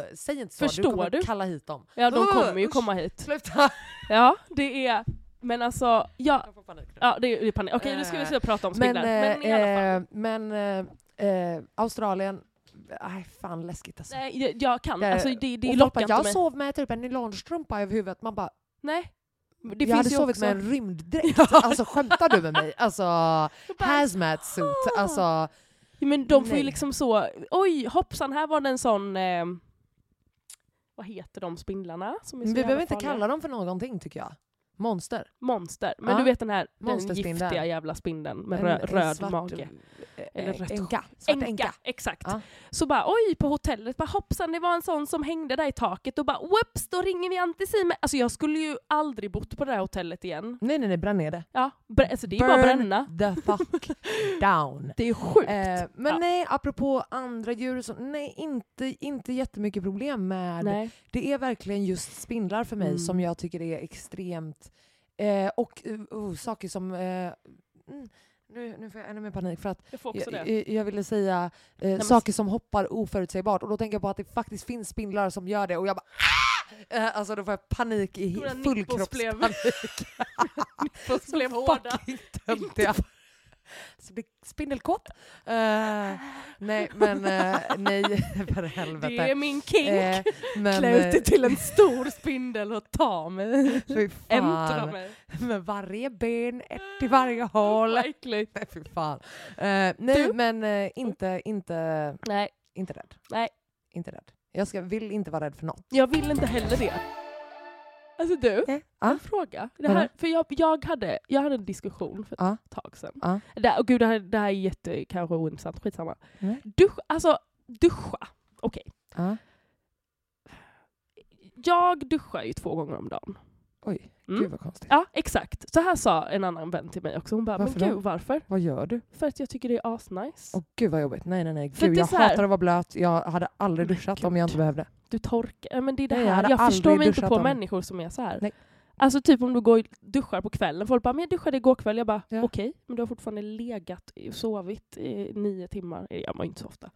B: "Woo!" säg inte så,
A: Förstår
B: du kommer
A: du?
B: kalla hit dem.
A: ja de
B: "Woo!"
A: kommer ju
B: Usch,
A: komma hit.
B: Sluta!
A: Ja, det är... Men alltså, ja,
B: Jag får panik nu.
A: ja det är det är panik. Okej, nu ska vi sluta prata om spindlar. Men, i alla fall.
B: typ. eh, men eh, eh, Australien, nej fan läskigt alltså.
A: Nej, jag, jag kan.
B: Jag-
A: Alltså, det det
B: Och folk
A: lockar
B: bara,
A: inte
B: jag
A: mig.
B: sov med typ en nylonstrumpa över huvudet, man bara
A: Nej. Det
B: jag hade
A: ju
B: sovit
A: också-
B: med en rymddräkt. Alltså skämtar du med mig? Alltså hazmat suit. Alltså,
A: Ja, Men de får ju
B: Nej.
A: liksom så, oj hoppsan här var det en sån, eh, vad heter de spindlarna? Som är så
B: vi
A: jävla
B: behöver inte
A: farliga?
B: kalla dem för någonting tycker jag. Monster.
A: Monster. Men
B: Ja.
A: du vet den här den
B: Monsterspindeln.
A: giftiga jävla spindeln med
B: En-
A: rö-
B: en
A: röd
B: svart-
A: mage.
B: eh,
A: Eller rött
B: Enka. Svart
A: Enka,
B: enka.
A: exakt.
B: Ja.
A: Så bara oj på hotellet, bara hoppsan det var en sån som hängde där i taket och bara whoops då ringer vi antisim. Alltså jag skulle ju aldrig bott på det här hotellet igen.
B: Nej nej nej, bränn ner det.
A: Ja, br- alltså det är bara att bränna.
B: the fuck down.
A: Det är sjukt.
B: Eh, men
A: Ja.
B: nej, apropå andra djur och så, nej inte, inte jättemycket problem med.
A: Nej.
B: Det är verkligen just spindlar för mig
A: Mm.
B: som jag tycker är extremt, eh, och eh, oh, saker som, eh, mm, nu, nu får jag ännu mer panik för att
A: Jag får också
B: jag,
A: det.
B: jag- jag ville säga eh,
A: men-
B: saker som hoppar oförutsägbart och då tänker jag på att det faktiskt finns spindlar som gör det och jag bara "Ah!" eh, Alltså då får jag panik i
A: Stora
B: full
A: nipples blev-
B: kroppspanik.
A: Nipples
B: Så
A: blev hårda.
B: fucking tömde jag. Så blir spindelkåt. Eh, nej men eh, nej för helvete.
A: Det är min kink.
B: Eh, men,
A: Klä ut dig till en stor spindel och ta mig.
B: eh, fy
A: Ämtra
B: fan.
A: mig.
B: Med varje ben, ett i varje hål.
A: Vad äckligt.
B: Nej, fy fan. Eh, nej
A: Du?
B: men eh, inte, inte
A: Nej,
B: Inte rädd.
A: Nej.
B: Inte rädd. Jag ska, vill inte vara rädd för något.
A: jag vill inte heller det. Alltså du,
B: Eh, Ja.
A: en fråga. Det här,
B: Vadå?
A: för jag, jag, hade, jag hade en diskussion för ett
B: Ja.
A: tag sedan.
B: Ja.
A: Det, här- och gud, det, här, det här är jätte, kanske ointressant, skitsamma.
B: Nej.
A: Dusch, alltså, duscha. Okej. Ah.
B: Ja.
A: Jag duschar ju två gånger om dagen.
B: Oj,
A: Mm.
B: gud vad konstigt.
A: Ja, exakt. Så här sa en annan vän till mig också. Hon bara,
B: Varför
A: men
B: då?
A: gud varför?
B: Vad gör du?
A: För att jag tycker det är asnice.
B: Åh gud vad jobbigt. Nej nej nej.
A: För
B: Gud,
A: det är
B: jag
A: så här-
B: hatar att vara blöt. Jag hade aldrig
A: Men
B: duschat
A: gud.
B: om jag inte behövde.
A: du torkar. Nej, Men det är det
B: Nej, jag
A: här.
B: hade
A: Jag, förstår
B: aldrig
A: mig inte
B: duschat
A: på
B: om-
A: människor som är så här.
B: Nej.
A: Alltså typ om du går och duschar på kvällen. Folk bara men jag duschade igår kväll. Jag bara
B: Ja.
A: okej, men du har fortfarande legat och sovit i nio timmar. Det gör man ju inte så ofta.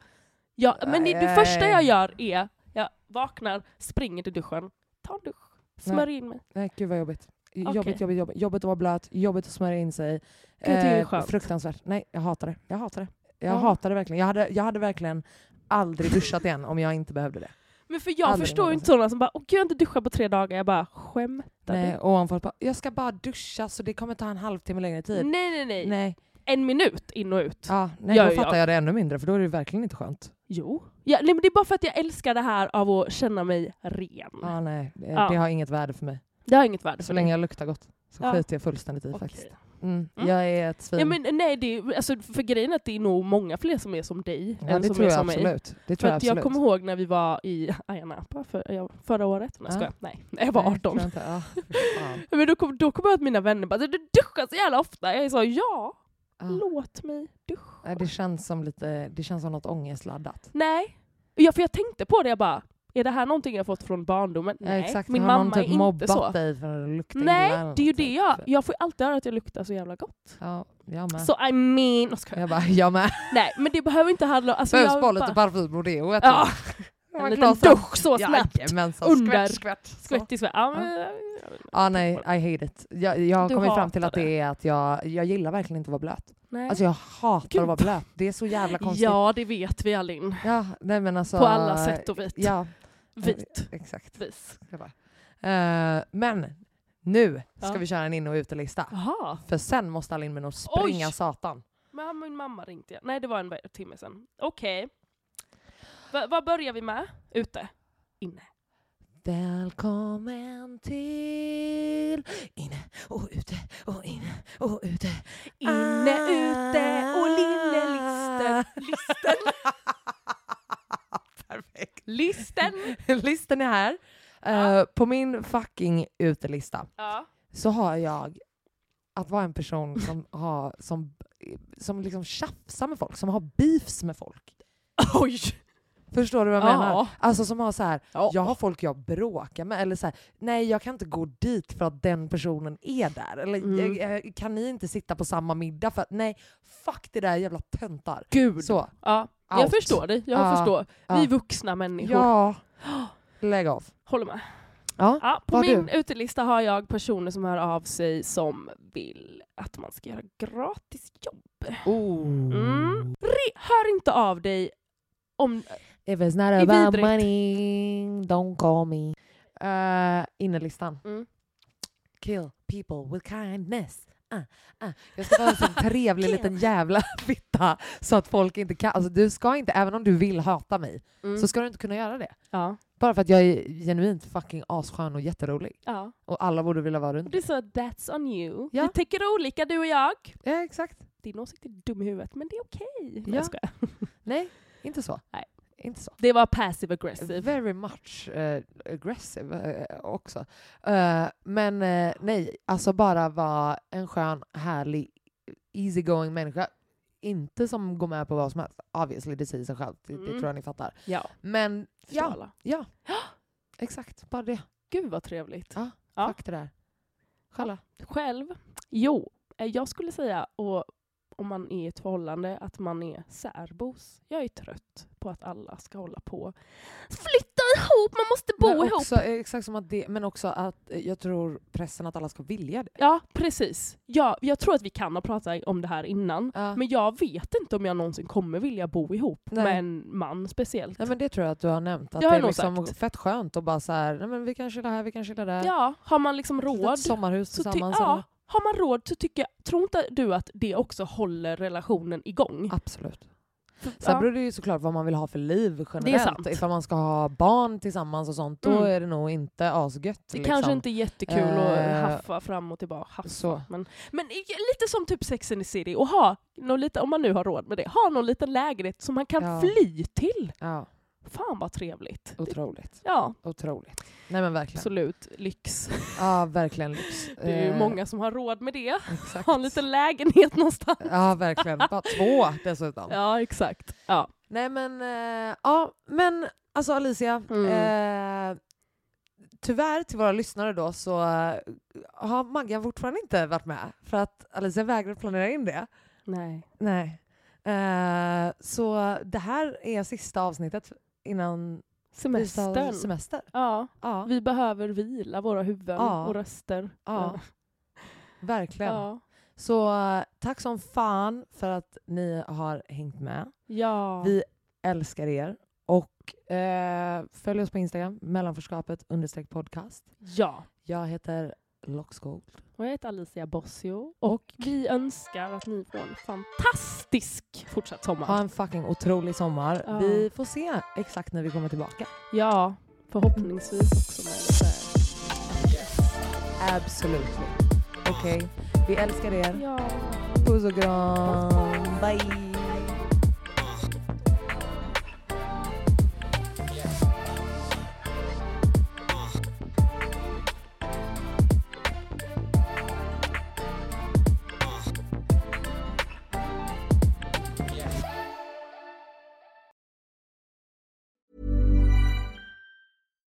A: Ja, men det, det
B: Nej.
A: första jag gör är jag vaknar, springer till duschen, tar en dusch, smörjer in mig.
B: Nej gud vad jobbigt.
A: Okej.
B: Jobbigt, jobbigt, jobbigt. Jobbigt att vara blöt, jobbigt att smörja in sig. Eh,
A: jag tycker det är skönt.
B: fruktansvärt. Nej jag hatar det. Jag hatar det. Jag
A: Ja.
B: hatar det verkligen. Jag hade, jag hade verkligen aldrig duschat igen om jag inte behövde det.
A: Men för jag
B: Aldrig
A: förstår ju inte
B: någonsin.
A: sådana som bara åh gud jag har inte duschat på tre dagar. Jag bara skämtar
B: Nej,
A: du?
B: och om folk bara, jag ska bara duscha så det kommer ta en halvtimme längre tid.
A: Nej nej nej.
B: typ- Nej,
A: En minut in och ut.
B: ja, nej
A: Ja,
B: då
A: ja.
B: fattar jag det ännu mindre för då är det verkligen inte skönt.
A: Jo. Ja, nej, men det är bara för att jag älskar det här av att känna mig ren.
B: Ah, nej, det,
A: Ja.
B: det har inget värde för mig.
A: Det har inget värde
B: Så
A: för
B: länge
A: mig.
B: jag luktar gott så
A: Ja.
B: skiter jag fullständigt i
A: Okej.
B: faktiskt. Mm.
A: Mm.
B: Jag är ett svin.
A: Ja, men, nej, det är, alltså, för grejen är att det är nog många fler som är som dig
B: Ja,
A: än
B: det
A: som
B: tror
A: är
B: jag
A: som mig.
B: absolut. Det
A: För
B: tror jag
A: att jag
B: absolut.
A: kommer ihåg när vi var i Ayia Napa för, ja, förra året. Nej,
B: Ja.
A: skojar. Nej, jag var
B: Nej,
A: 18.
B: tror jag inte. Ah, fy fan.
A: Men då kom, då kom jag att mina vänner bara du duschar så jävla ofta. Jag sa ja,
B: Ah.
A: låt mig duscha.
B: Nej, Det känns som lite, det känns som något ångestladdat.
A: Nej. Ja, för jag tänkte på det, jag bara är det här någonting jag fått från barndomen?
B: Ja,
A: Nej,
B: exakt.
A: min
B: har
A: mamma
B: någon typ
A: är inte
B: mobbat
A: så.
B: dig för att lukta illa
A: Nej,
B: eller
A: det är ju
B: något,
A: det
B: typ.
A: jag... Jag får ju alltid höra att jag luktar så jävla gott.
B: Ja, jag med.
A: Så I mean... Och så-
B: Jag bara, jag med.
A: Nej, men det behöver inte handla om... Alltså,
B: Behövs
A: jag
B: bara
A: bara-
B: lite parfym och deo. ett
A: Ja,
B: tag. Och
A: en
B: ett
A: liten
B: glas vatten.
A: dusch så snabbt.
B: Jajamensan,
A: Under.
B: skvätt, skvätt. så.
A: Skvätt i Sverige. Ja, men, Typ
B: Ja, nej, I hate it. Jag, jag har
A: Du
B: kommit fram till att
A: hatar
B: det är att jag, jag gillar verkligen inte att vara blöt.
A: nej.
B: Alltså jag hatar
A: Gud.
B: att vara blöt. Det är så jävla konstigt.
A: ja, det vet vi Alin.
B: Ja, nej, men alltså,
A: På alla sätt och vis.
B: Ja,
A: Vit.
B: exakt.
A: Vis.
B: Jag bara. Eh, men nu ska
A: Ja.
B: vi köra en in och utelista.
A: Jaha.
B: För sen måste Alin med något springa
A: Oj!
B: satan.
A: Men han- min mamma ringde jag. Nej, det var en vä- timme sedan. Okej. Va- vad börjar vi med? Ute? Inne?
B: Välkommen till inne och ute och inne och ute.
A: Inne, ute och linne,
B: Ah.
A: listen. Listen.
B: Perfekt.
A: listen.
B: Listen är här. Eh,
A: Ja.
B: på min fucking utelista
A: Ja.
B: så har jag att vara en person som, har, som, som liksom tjafsar med folk, som har beefs med folk.
A: Oj!
B: Förstår du vad jag
A: Ja.
B: menar? Alltså som har så här,
A: Ja.
B: jag har folk jag bråkar med, eller så här, nej jag kan inte gå dit för att den personen är där. Eller
A: Mm.
B: "Eh, eh, kan ni inte sitta på samma middag för att, nej fuck det där jävla töntar.
A: Gud.
B: Så,
A: Ja, jag
B: Out.
A: förstår dig. Jag
B: Ja,
A: förstår.
B: ja.
A: Vi vuxna människor.
B: ja. Lägg av.
A: Håller med.
B: Ja.
A: Ja, på
B: Vad har
A: min utelista har jag personer som hör av sig som vill att man ska göra gratis jobb.
B: Oh.
A: Mm. Re- hör inte av dig om...
B: If it's not
A: är
B: about
A: vidrigt.
B: money, don't call me. Uh, innerlistan.
A: Mm.
B: Kill people with kindness. Ah, ah. Jag ska vara en sån trevlig liten jävla fitta så att folk inte kan. Alltså, du ska inte, även om du vill hata mig,
A: Mm.
B: så ska du inte kunna göra det.
A: Ja.
B: Bara för att jag är genuint fucking asskön och jätterolig.
A: ja.
B: Och alla borde vilja vara runt
A: Du sa that's on you.
B: Mm. Ja.
A: Vi tycker olika du och jag.
B: Ja, exakt.
A: Din åsikt är dum i huvudet, men det är okej.
B: Ja.
A: Jag skojar.
B: Nej, inte så.
A: Nej.
B: Inte så.
A: Det var passive aggressive.
B: Very much eh, aggressive eh, också. Eh, men eh, nej, alltså bara vara en skön, härlig, easygoing människa. Inte som går med på vad som helst. Obviously, det säger sig självt. Det, det
A: Mm.
B: tror jag ni fattar.
A: Ja.
B: Men
A: Ja.
B: ja, ja. exakt. Bara det.
A: Gud vad trevligt.
B: Ja.
A: Ja.
B: Fuck det där. Challa.
A: Själv? Jo, eh, jag skulle säga, och om man är i ett förhållande, att man är särbos. Jag är trött på att alla ska hålla på. Flytta ihop, man måste bo
B: Men
A: ihop!
B: också, eh, exakt som att det, men också att eh, jag tror pressen att alla ska vilja det.
A: Ja, precis. Ja, jag tror att vi kan ha pratat om det här innan.
B: Ja.
A: Men jag vet inte om jag någonsin kommer vilja bo ihop
B: Nej.
A: med en man speciellt.
B: Nej, men det tror jag att du har nämnt. Att
A: Det har
B: det
A: jag
B: är
A: nog
B: liksom
A: sagt.
B: fett skönt att bara så här, nej men vi kan chilla här, vi kan chilla där.
A: Ja, har man liksom
B: Ett
A: råd
B: sommarhus
A: så ty-
B: eh, tillsammans.
A: ja,
B: eller-
A: har man råd så tycker jag, tror inte du att det också håller relationen igång?
B: Absolut.
A: För-
B: Sen
A: ja.
B: beror det ju såklart vad man vill ha för liv generellt.
A: sant.
B: Ifall man ska ha barn tillsammans och sånt, då
A: Mm.
B: är det nog inte asgött.
A: Det
B: liksom.
A: kanske inte är jättekul
B: Eh,
A: att haffa fram och tillbaka. Haffa.
B: så.
A: Men, men i- lite som typ Sex and the City, och ha, någon lite, om man nu har råd med det, ha någon liten lägenhet som man kan
B: Ja.
A: fly till.
B: Ja,
A: Fan vad trevligt. Det-
B: otroligt.
A: Ja,
B: Otroligt. Nej men verkligen.
A: absolut. Lyx.
B: Ja, verkligen lyx.
A: Det är ju
B: Eh,
A: många som har råd med det.
B: Exakt.
A: Ha en liten lägenhet någonstans.
B: Ja, verkligen. Bara två dessutom.
A: Ja, exakt. Ja.
B: Nej men, eh, ja men alltså Alicia.
A: Mm.
B: Eh, tyvärr till våra lyssnare då så eh, har Maggan fortfarande inte varit med. För att Alicia vägrar planera in det.
A: Nej.
B: Nej. Eh, så det här är sista avsnittet innan vi tar
A: Semestern.
B: semester.
A: Ja,
B: Ja,
A: vi behöver vila våra huvuden
B: Ja.
A: och röster.
B: ja, verkligen.
A: Ja.
B: Så eh, tack som fan för att ni har hängt med.
A: ja.
B: Vi älskar er. Och eh, följ oss på Instagram, mellanforskapet understreck podcast.
A: Ja.
B: Jag heter Loxgold.
A: Och jag heter Alicia Bossio och, vi önskar att ni får en fantastisk fortsatt
B: Ha
A: sommar.
B: en fucking otrolig sommar.
A: Ja.
B: Vi får se exakt när vi kommer tillbaka.
A: Ja, förhoppningsvis också med lite...
B: Absolut. Okej, vi älskar er.
A: Ja.
B: Puss och kram. Bye.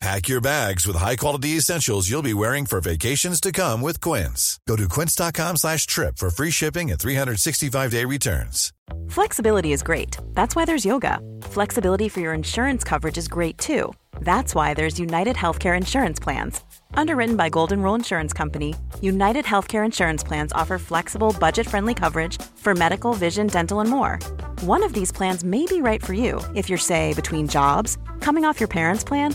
C: Pack your bags with high-quality essentials you'll be wearing for vacations to come with Quince. Go to quince.com slash trip for free shipping and 365-day returns.
D: Flexibility is great. That's why there's yoga. Flexibility for your insurance coverage is great too. That's why there's United Healthcare Insurance Plans. Underwritten by Golden Rule Insurance Company, United Healthcare Insurance Plans offer flexible, budget friendly coverage for medical, vision, dental, and more. One of these plans may be right for you if you're, say, between jobs, coming off your parents' plan,